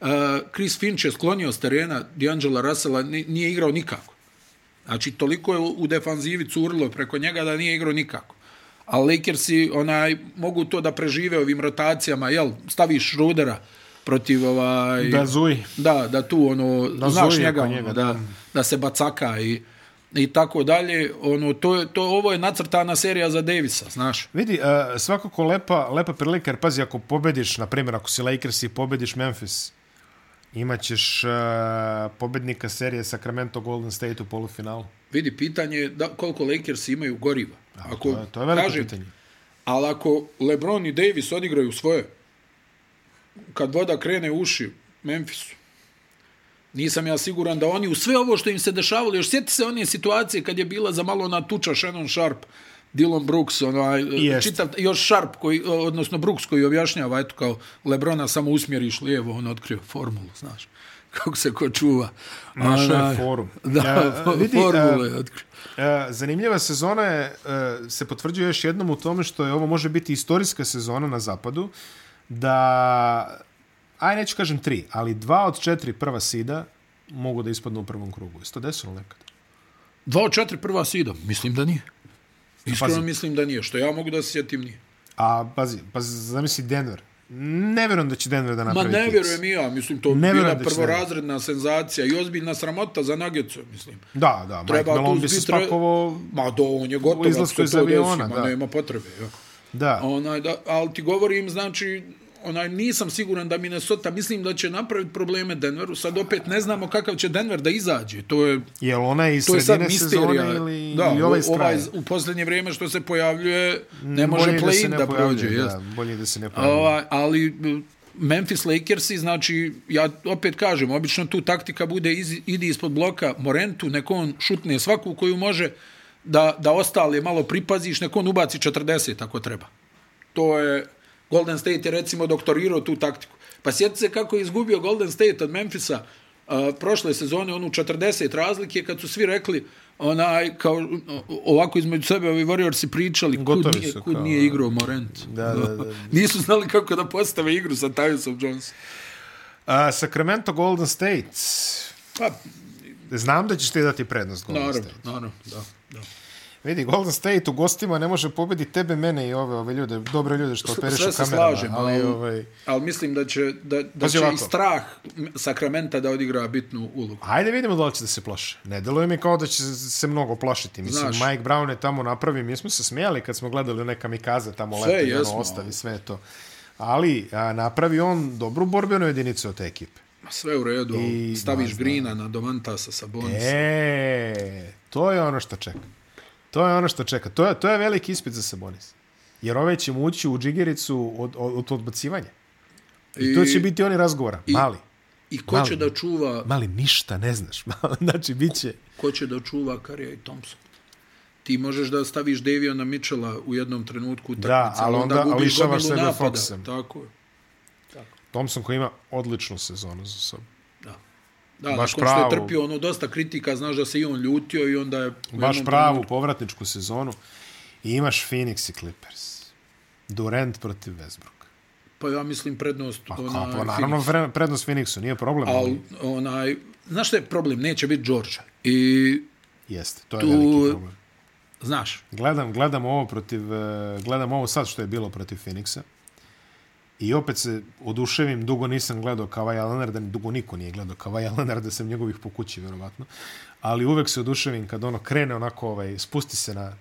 S2: uh, Chris Finch je sklonio s terena D'Angela Russella, ni- nije igrao nikako. Znači, toliko je u- u defanzivi curilo preko njega da nije igrao nikako. A Lakersi onaj, mogu to da prežive ovim rotacijama, jel, staviš Šrudera protiv ovaj...
S1: Da, Zuj.
S2: Da, da tu ono, da
S1: Da
S2: znaš
S1: zuje
S2: njega,
S1: oko
S2: njega ono,
S1: njega,
S2: da,
S1: da.
S2: da se bacaka i, i tako dalje. Ono, to, je, to, ovo je nacrtana serija za Davisa, znaš.
S1: Vidi, uh, svakako lepa, lepa prilika, jer pazi, ako pobediš, na primjer, ako si Lakers i pobediš Memphis, imaćeš uh, pobednika serije Sacramento Golden State u polufinalu.
S2: Vidi, pitanje je da, koliko Lakers imaju goriva. Ako,
S1: to, je, to je veliko
S2: kažem,
S1: pitanje.
S2: Ali ako LeBron i Davis odigraju svoje, kad voda krene u uši Memphisu, nisam ja siguran da oni u sve ovo što im se dešavalo, još sjeti se one situacije kad je bila za malo ona tuča Shannon Sharp, Dylan Brooks, onaj,
S1: Jeste.
S2: čitav, još Sharp, koji, odnosno Brooks koji objašnjava, eto kao Lebrona samo usmjeriš lijevo, on otkrio formulu, znaš, kako se ko čuva.
S1: Našao je
S2: Onaj,
S1: forum.
S2: Da,
S1: Ja, vidi, a,
S2: formulu je otkrio.
S1: E, zanimljiva sezona je, e, se potvrđuje još jednom u tome što je ovo može biti istorijska sezona na zapadu, da, aj neću kažem tri, ali dva od četiri prva sida mogu da ispadnu u prvom krugu. Isto desilo nekad.
S2: Dva od četiri prva sida, mislim da nije. Iskreno
S1: Pazi.
S2: mislim da nije, što ja mogu da se sjetim nije.
S1: A, pazi, pa zamisli Denver. Ne vjerujem da će Denver da
S2: Ma
S1: napravi
S2: ne
S1: kiks.
S2: vjerujem i ja, mislim to
S1: Ne
S2: ne bila
S1: vjerujem da će
S2: prvorazredna senzacija i ozbiljna sramota za Nagecu, mislim.
S1: Da, da, Mike
S2: Treba tu
S1: Malone bi se
S2: biti re-
S1: spakovao...
S2: Ma do, on je gotov, ako
S1: izlasku
S2: se
S1: iz
S2: to desi,
S1: aviona,
S2: ma
S1: da.
S2: nema potrebe. Ja.
S1: Da,
S2: Onaj, da, ali ti govorim, znači, onaj, nisam siguran da Minnesota, mislim da će napraviti probleme Denveru, sad opet ne znamo kakav će Denver da izađe, to je,
S1: jel ona je iz
S2: to je sad
S1: sredine
S2: misterija.
S1: sezone ili,
S2: da,
S1: ili ovaj iz kraja?
S2: ovaj u posljednje vrijeme što se pojavljuje, ne može
S1: Bolje da se
S2: play-in da, da
S1: pojavljuje,
S2: prođe, jest.
S1: Da, bolje da se ne pojavljuje.
S2: Ovaj, ali m, Memphis Lakersi, znači, ja opet kažem, obično tu taktika bude iz, idi ispod bloka Morentu, neko on šutne svaku koju može, da, da ostale malo pripaziš, neko on ubaci 40 ako treba. To je, Golden State je recimo doktorirao tu taktiku. Pa sjeti se kako je izgubio Golden State od Memphisa uh, prošle sezone, onu 40 razlike, kad su svi rekli, onaj, kao, o- ovako između sebe, ovi Warriorsi pričali, kud
S1: Gotovi
S2: nije,
S1: su
S2: kud
S1: kao-
S2: nije igrao Morent.
S1: Da, da, da.
S2: Nisu znali kako da postave igru sa Tyusom Johnson.
S1: A, Sacramento Golden State.
S2: Pa,
S1: Znam da ćeš ti dati prednost Golden
S2: naravno,
S1: State.
S2: naravno, da. da.
S1: Vidi, Golden State u gostima ne može pobedi tebe, mene i ove, ove ljude, dobre ljude što
S2: Sve-
S1: opereš
S2: sve
S1: u
S2: se
S1: kamerama.
S2: slažem,
S1: ali,
S2: ali-
S1: ovaj,
S2: Ali mislim da će, da, da
S1: Pazi
S2: će
S1: ovako.
S2: i strah Sakramenta da odigra bitnu ulogu.
S1: Ajde vidimo da li će da se plaše. Ne deluje mi kao da će se mnogo plašiti. Mislim,
S2: Znaš.
S1: Znaš. Mike Brown je tamo napravio, mi smo se smijali kad smo gledali one kamikaze tamo
S2: Sve
S1: lete i ono
S2: jesmo,
S1: ostavi sve to. Ali a, napravi on dobru borbenu jedinicu od te ekipe.
S2: Ma sve u redu,
S1: I-
S2: I, staviš
S1: ma,
S2: Grina na Domantasa sa Bonisa.
S1: E, to je ono što čeka. To je ono što čeka. To je, to je veliki ispit za Sabonis. Jer ovaj će mu ući u džigericu od, od, od odbacivanja. I, to će biti oni razgovora.
S2: i-
S1: mali.
S2: I ko
S1: Mali.
S2: će da čuva,
S1: Mali, ništa ne znaš. Mali, znači, bit će...
S2: ko će da čuva Karija i Thompson? Ti možeš da staviš Deviona Mitchella u jednom trenutku utakmice,
S1: ali onda- ali
S2: gubiš
S1: lišavaš
S2: gomilu
S1: sebe
S2: napada.
S1: Foxem.
S2: Tako je.
S1: Thompson koji ima odličnu sezonu za sobom.
S2: Da,
S1: Baš
S2: Baš nakon što
S1: pravu.
S2: je trpio ono dosta kritika, znaš da se i on ljutio i onda je... u
S1: Baš
S2: jednom
S1: pravu
S2: trenutku-
S1: povratničku sezonu. I imaš Phoenix i Clippers. Durant protiv Westbrooka.
S2: Pa ja mislim prednost...
S1: Pa,
S2: ona,
S1: pa naravno, vre- prednost Phoenixu, nije problem.
S2: Al,
S1: Ali,
S2: onaj, znaš šta je problem? Neće biti Đorđa. I,
S1: jeste, to je
S2: tu-
S1: veliki problem.
S2: znaš,
S1: Gledam, gledam ovo protiv, eh, gledam ovo sad što je bilo protiv Phoenixa. I opet se oduševim, dugo nisam gledao Kavaja Leonarda, dugo niko nije gledao Kavaja Leonarda, sem njegovih po kući, verovatno. Ali uvek se oduševim kad ono krene onako, ovaj, spusti se na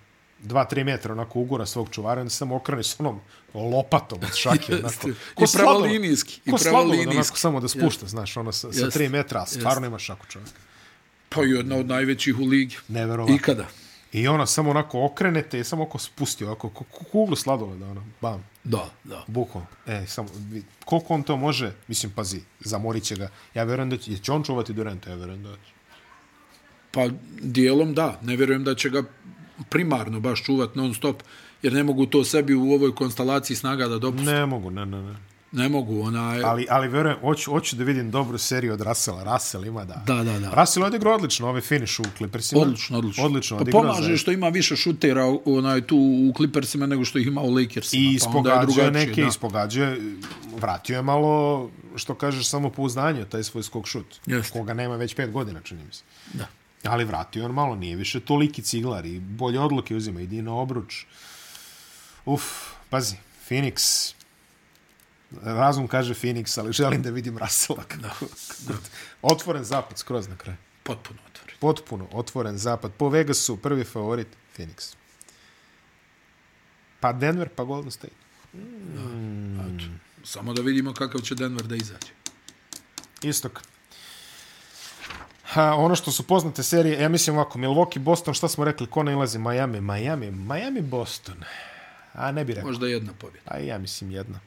S1: 2-3 metra onako ugora svog čuvara, onda se samo okrene s onom lopatom od šake. onako.
S2: Jeste.
S1: Ko
S2: I
S1: sladoled.
S2: pravolinijski, i
S1: Ko sladoled,
S2: pravolinijski.
S1: onako samo da spušta, znaš, ono sa, sa
S2: Jeste.
S1: 3 metra, ali stvarno ima šaku čovjek.
S2: pa i jedna od najvećih u ligi.
S1: Neverovatno.
S2: Ikada.
S1: I ono, samo onako okrenete i samo oko spusti, ovako, ko- ko kuglu sladoleda, ono, bam.
S2: Da, da.
S1: Bukom. E, samo, vi- koliko on to može, mislim, pazi, zamorit će ga. Ja verujem da će, će on čuvati Duranta, ja verujem da će.
S2: Pa dijelom da, ne vjerujem da će ga primarno baš čuvat non stop, jer ne mogu to sebi u ovoj konstalaciji snaga da dopusti. Ne,
S1: Ne mogu, ne, ne, ne.
S2: ne mogu, onaj...
S1: Ali, ali verujem, hoću, hoću da vidim dobru seriju od Rasela. Rasel ima da...
S2: Da, da, da.
S1: Rasel odigrao odlično, ove finish u Clippersima.
S2: Odlično, odlično.
S1: Odlično,
S2: pa
S1: odigrao.
S2: pomaže
S1: za-
S2: što ima više šutera onaj, tu u Clippersima nego što ih ima u Lakersima.
S1: I
S2: pa onda
S1: ispogađao
S2: je
S1: je
S2: drugačije.
S1: neke,
S2: da.
S1: ispogađao je, vratio je malo, što kažeš, samo pouznanje, taj svoj skok šut.
S2: Jeste.
S1: Koga nema već pet godina, čini mi se.
S2: Da.
S1: Ali vratio je on malo, nije više toliki ciglar i bolje odluke uzima, idi na obruč. Uf, pazi, Phoenix, razum kaže Phoenix, ali želim da vidim Russella. Kako, da. Otvoren zapad, skroz na kraj.
S2: Potpuno otvoren.
S1: Potpuno otvoren zapad. Po Vegasu, prvi favorit, Phoenix. Pa Denver, pa Golden State.
S2: Eto. Samo da vidimo kakav će Denver da izađe.
S1: Istok. Ha, ono što su poznate serije, ja mislim ovako, Milwaukee, Boston, šta smo rekli, ko nailazi? Miami, Miami, Miami, Boston. A ne bi rekao.
S2: Možda jedna pobjeda.
S1: A ja mislim jedna.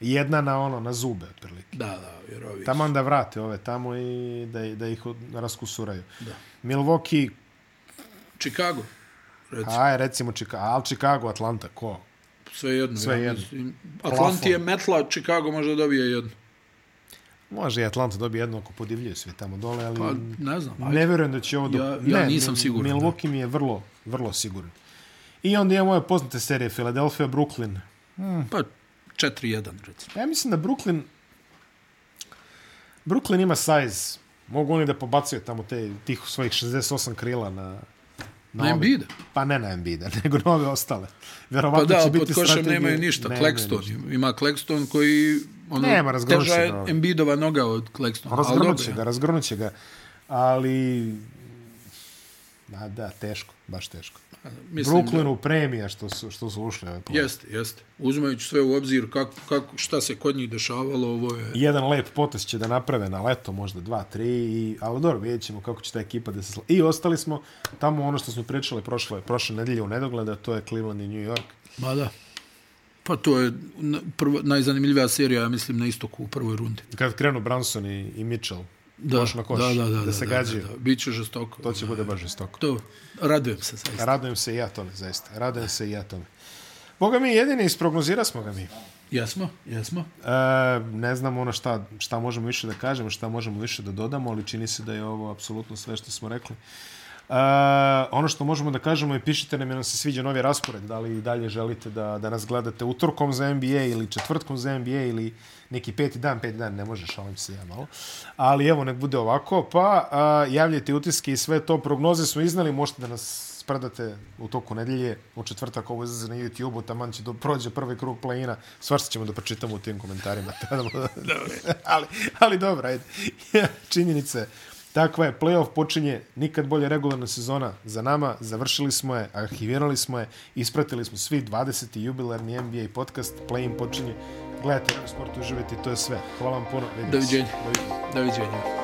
S1: Jedna na ono, na zube, otprilike.
S2: Da, da, jer ovi...
S1: Tamo onda vrate ove tamo i da, da ih od- raskusuraju.
S2: Da.
S1: Milwaukee,
S2: Chicago, recimo,
S1: aj recimo Chicago, al Chicago, Atlanta, ko?
S2: sve jedno.
S1: sve jedno.
S2: Mislim, Atlanti je metla, Chicago možda dobije jedno.
S1: Može i Atlanta dobije jedno ako podivljaju svi tamo dole, ali...
S2: Pa, ne znam, ajde.
S1: Ne vjerujem da će ovo... Do...
S2: Ja- ja
S1: ne,
S2: nisam
S1: Mi-
S2: siguran, da.
S1: Milwaukee mi je vrlo, vrlo siguran. I onda imamo ove poznate serije, Philadelphia, Brooklyn. Mm.
S2: Pa 4-1, recimo.
S1: Ja mislim da Brooklyn... Brooklyn ima size. Mogu oni da pobacaju tamo te, tih svojih 68 krila na...
S2: Na
S1: ove-
S2: Embiida?
S1: Pa ne na Embiida, nego na ove ostale.
S2: Pa
S1: Verovatno
S2: da,
S1: će
S2: ali
S1: biti
S2: pod košem
S1: strategije-
S2: nemaju ništa.
S1: Nemaju
S2: Klekston,
S1: ništa.
S2: ima Klekston koji... Ono,
S1: Nema, razgrnuće
S2: teža je
S1: ga ovaj.
S2: Embidova noga od Klekstona.
S1: Razgrnuće ga, razgrnuće ga. Ali... Da, da, teško, baš teško.
S2: Mislim, Brooklyn...
S1: Brooklynu premija što su, što su ušli. Ovaj play.
S2: Jeste, jeste. Uzimajući sve u obzir kako, kako, šta se kod njih dešavalo, ovo je...
S1: Jedan lep potes će da naprave na leto, možda dva, tri, i, ali dobro, vidjet ćemo kako će ta ekipa da se... Sla... I ostali smo tamo ono što smo pričali prošle, prošle nedelje u nedogleda, to je Cleveland i New York.
S2: Ma da. Pa to je na- prva, najzanimljivija serija, ja mislim, na istoku u prvoj rundi.
S1: Kad krenu Branson i, i Mitchell,
S2: Da,
S1: koš na koš,
S2: da, da, da,
S1: da se
S2: da,
S1: gađaju,
S2: Da, da. Biće žestoko.
S1: to će bude baš žestoko.
S2: To, radujem se zaista.
S1: Radujem se i ja tome, zaista. Radujem se i ja tome. Boga mi jedini, isprognozira smo ga mi.
S2: Jesmo, jesmo.
S1: E, ne znam ono šta, šta možemo više da kažemo, šta možemo više da dodamo, ali čini se da je ovo apsolutno sve što smo rekli. E, ono što možemo da kažemo je pišite nam je nam se sviđa novi raspored, da li i dalje želite da, da nas gledate utorkom za NBA ili četvrtkom za NBA ili neki peti dan, peti dan, ne može, šalim se ja malo. Ali evo, nek bude ovako, pa a, javljajte utiske i sve to, prognoze smo iznali, možete da nas spredate u toku nedelje, u četvrtak ovo izlazi na YouTube-u, taman će do, prođe prvi krug play-ina, svašta ćemo da pročitamo u tim komentarima. ali, ali dobro, ajde. Činjenice, takva je, play-off počinje, nikad bolje regularna sezona za nama, završili smo je, arhivirali smo je, ispratili smo svi 20. jubilarni NBA podcast, play-in počinje Gledajte, Sport uživajte i to je sve. Hvala vam puno. Vidimo se.
S2: Doviđenja.
S1: Doviđenja.
S2: Doviđenja.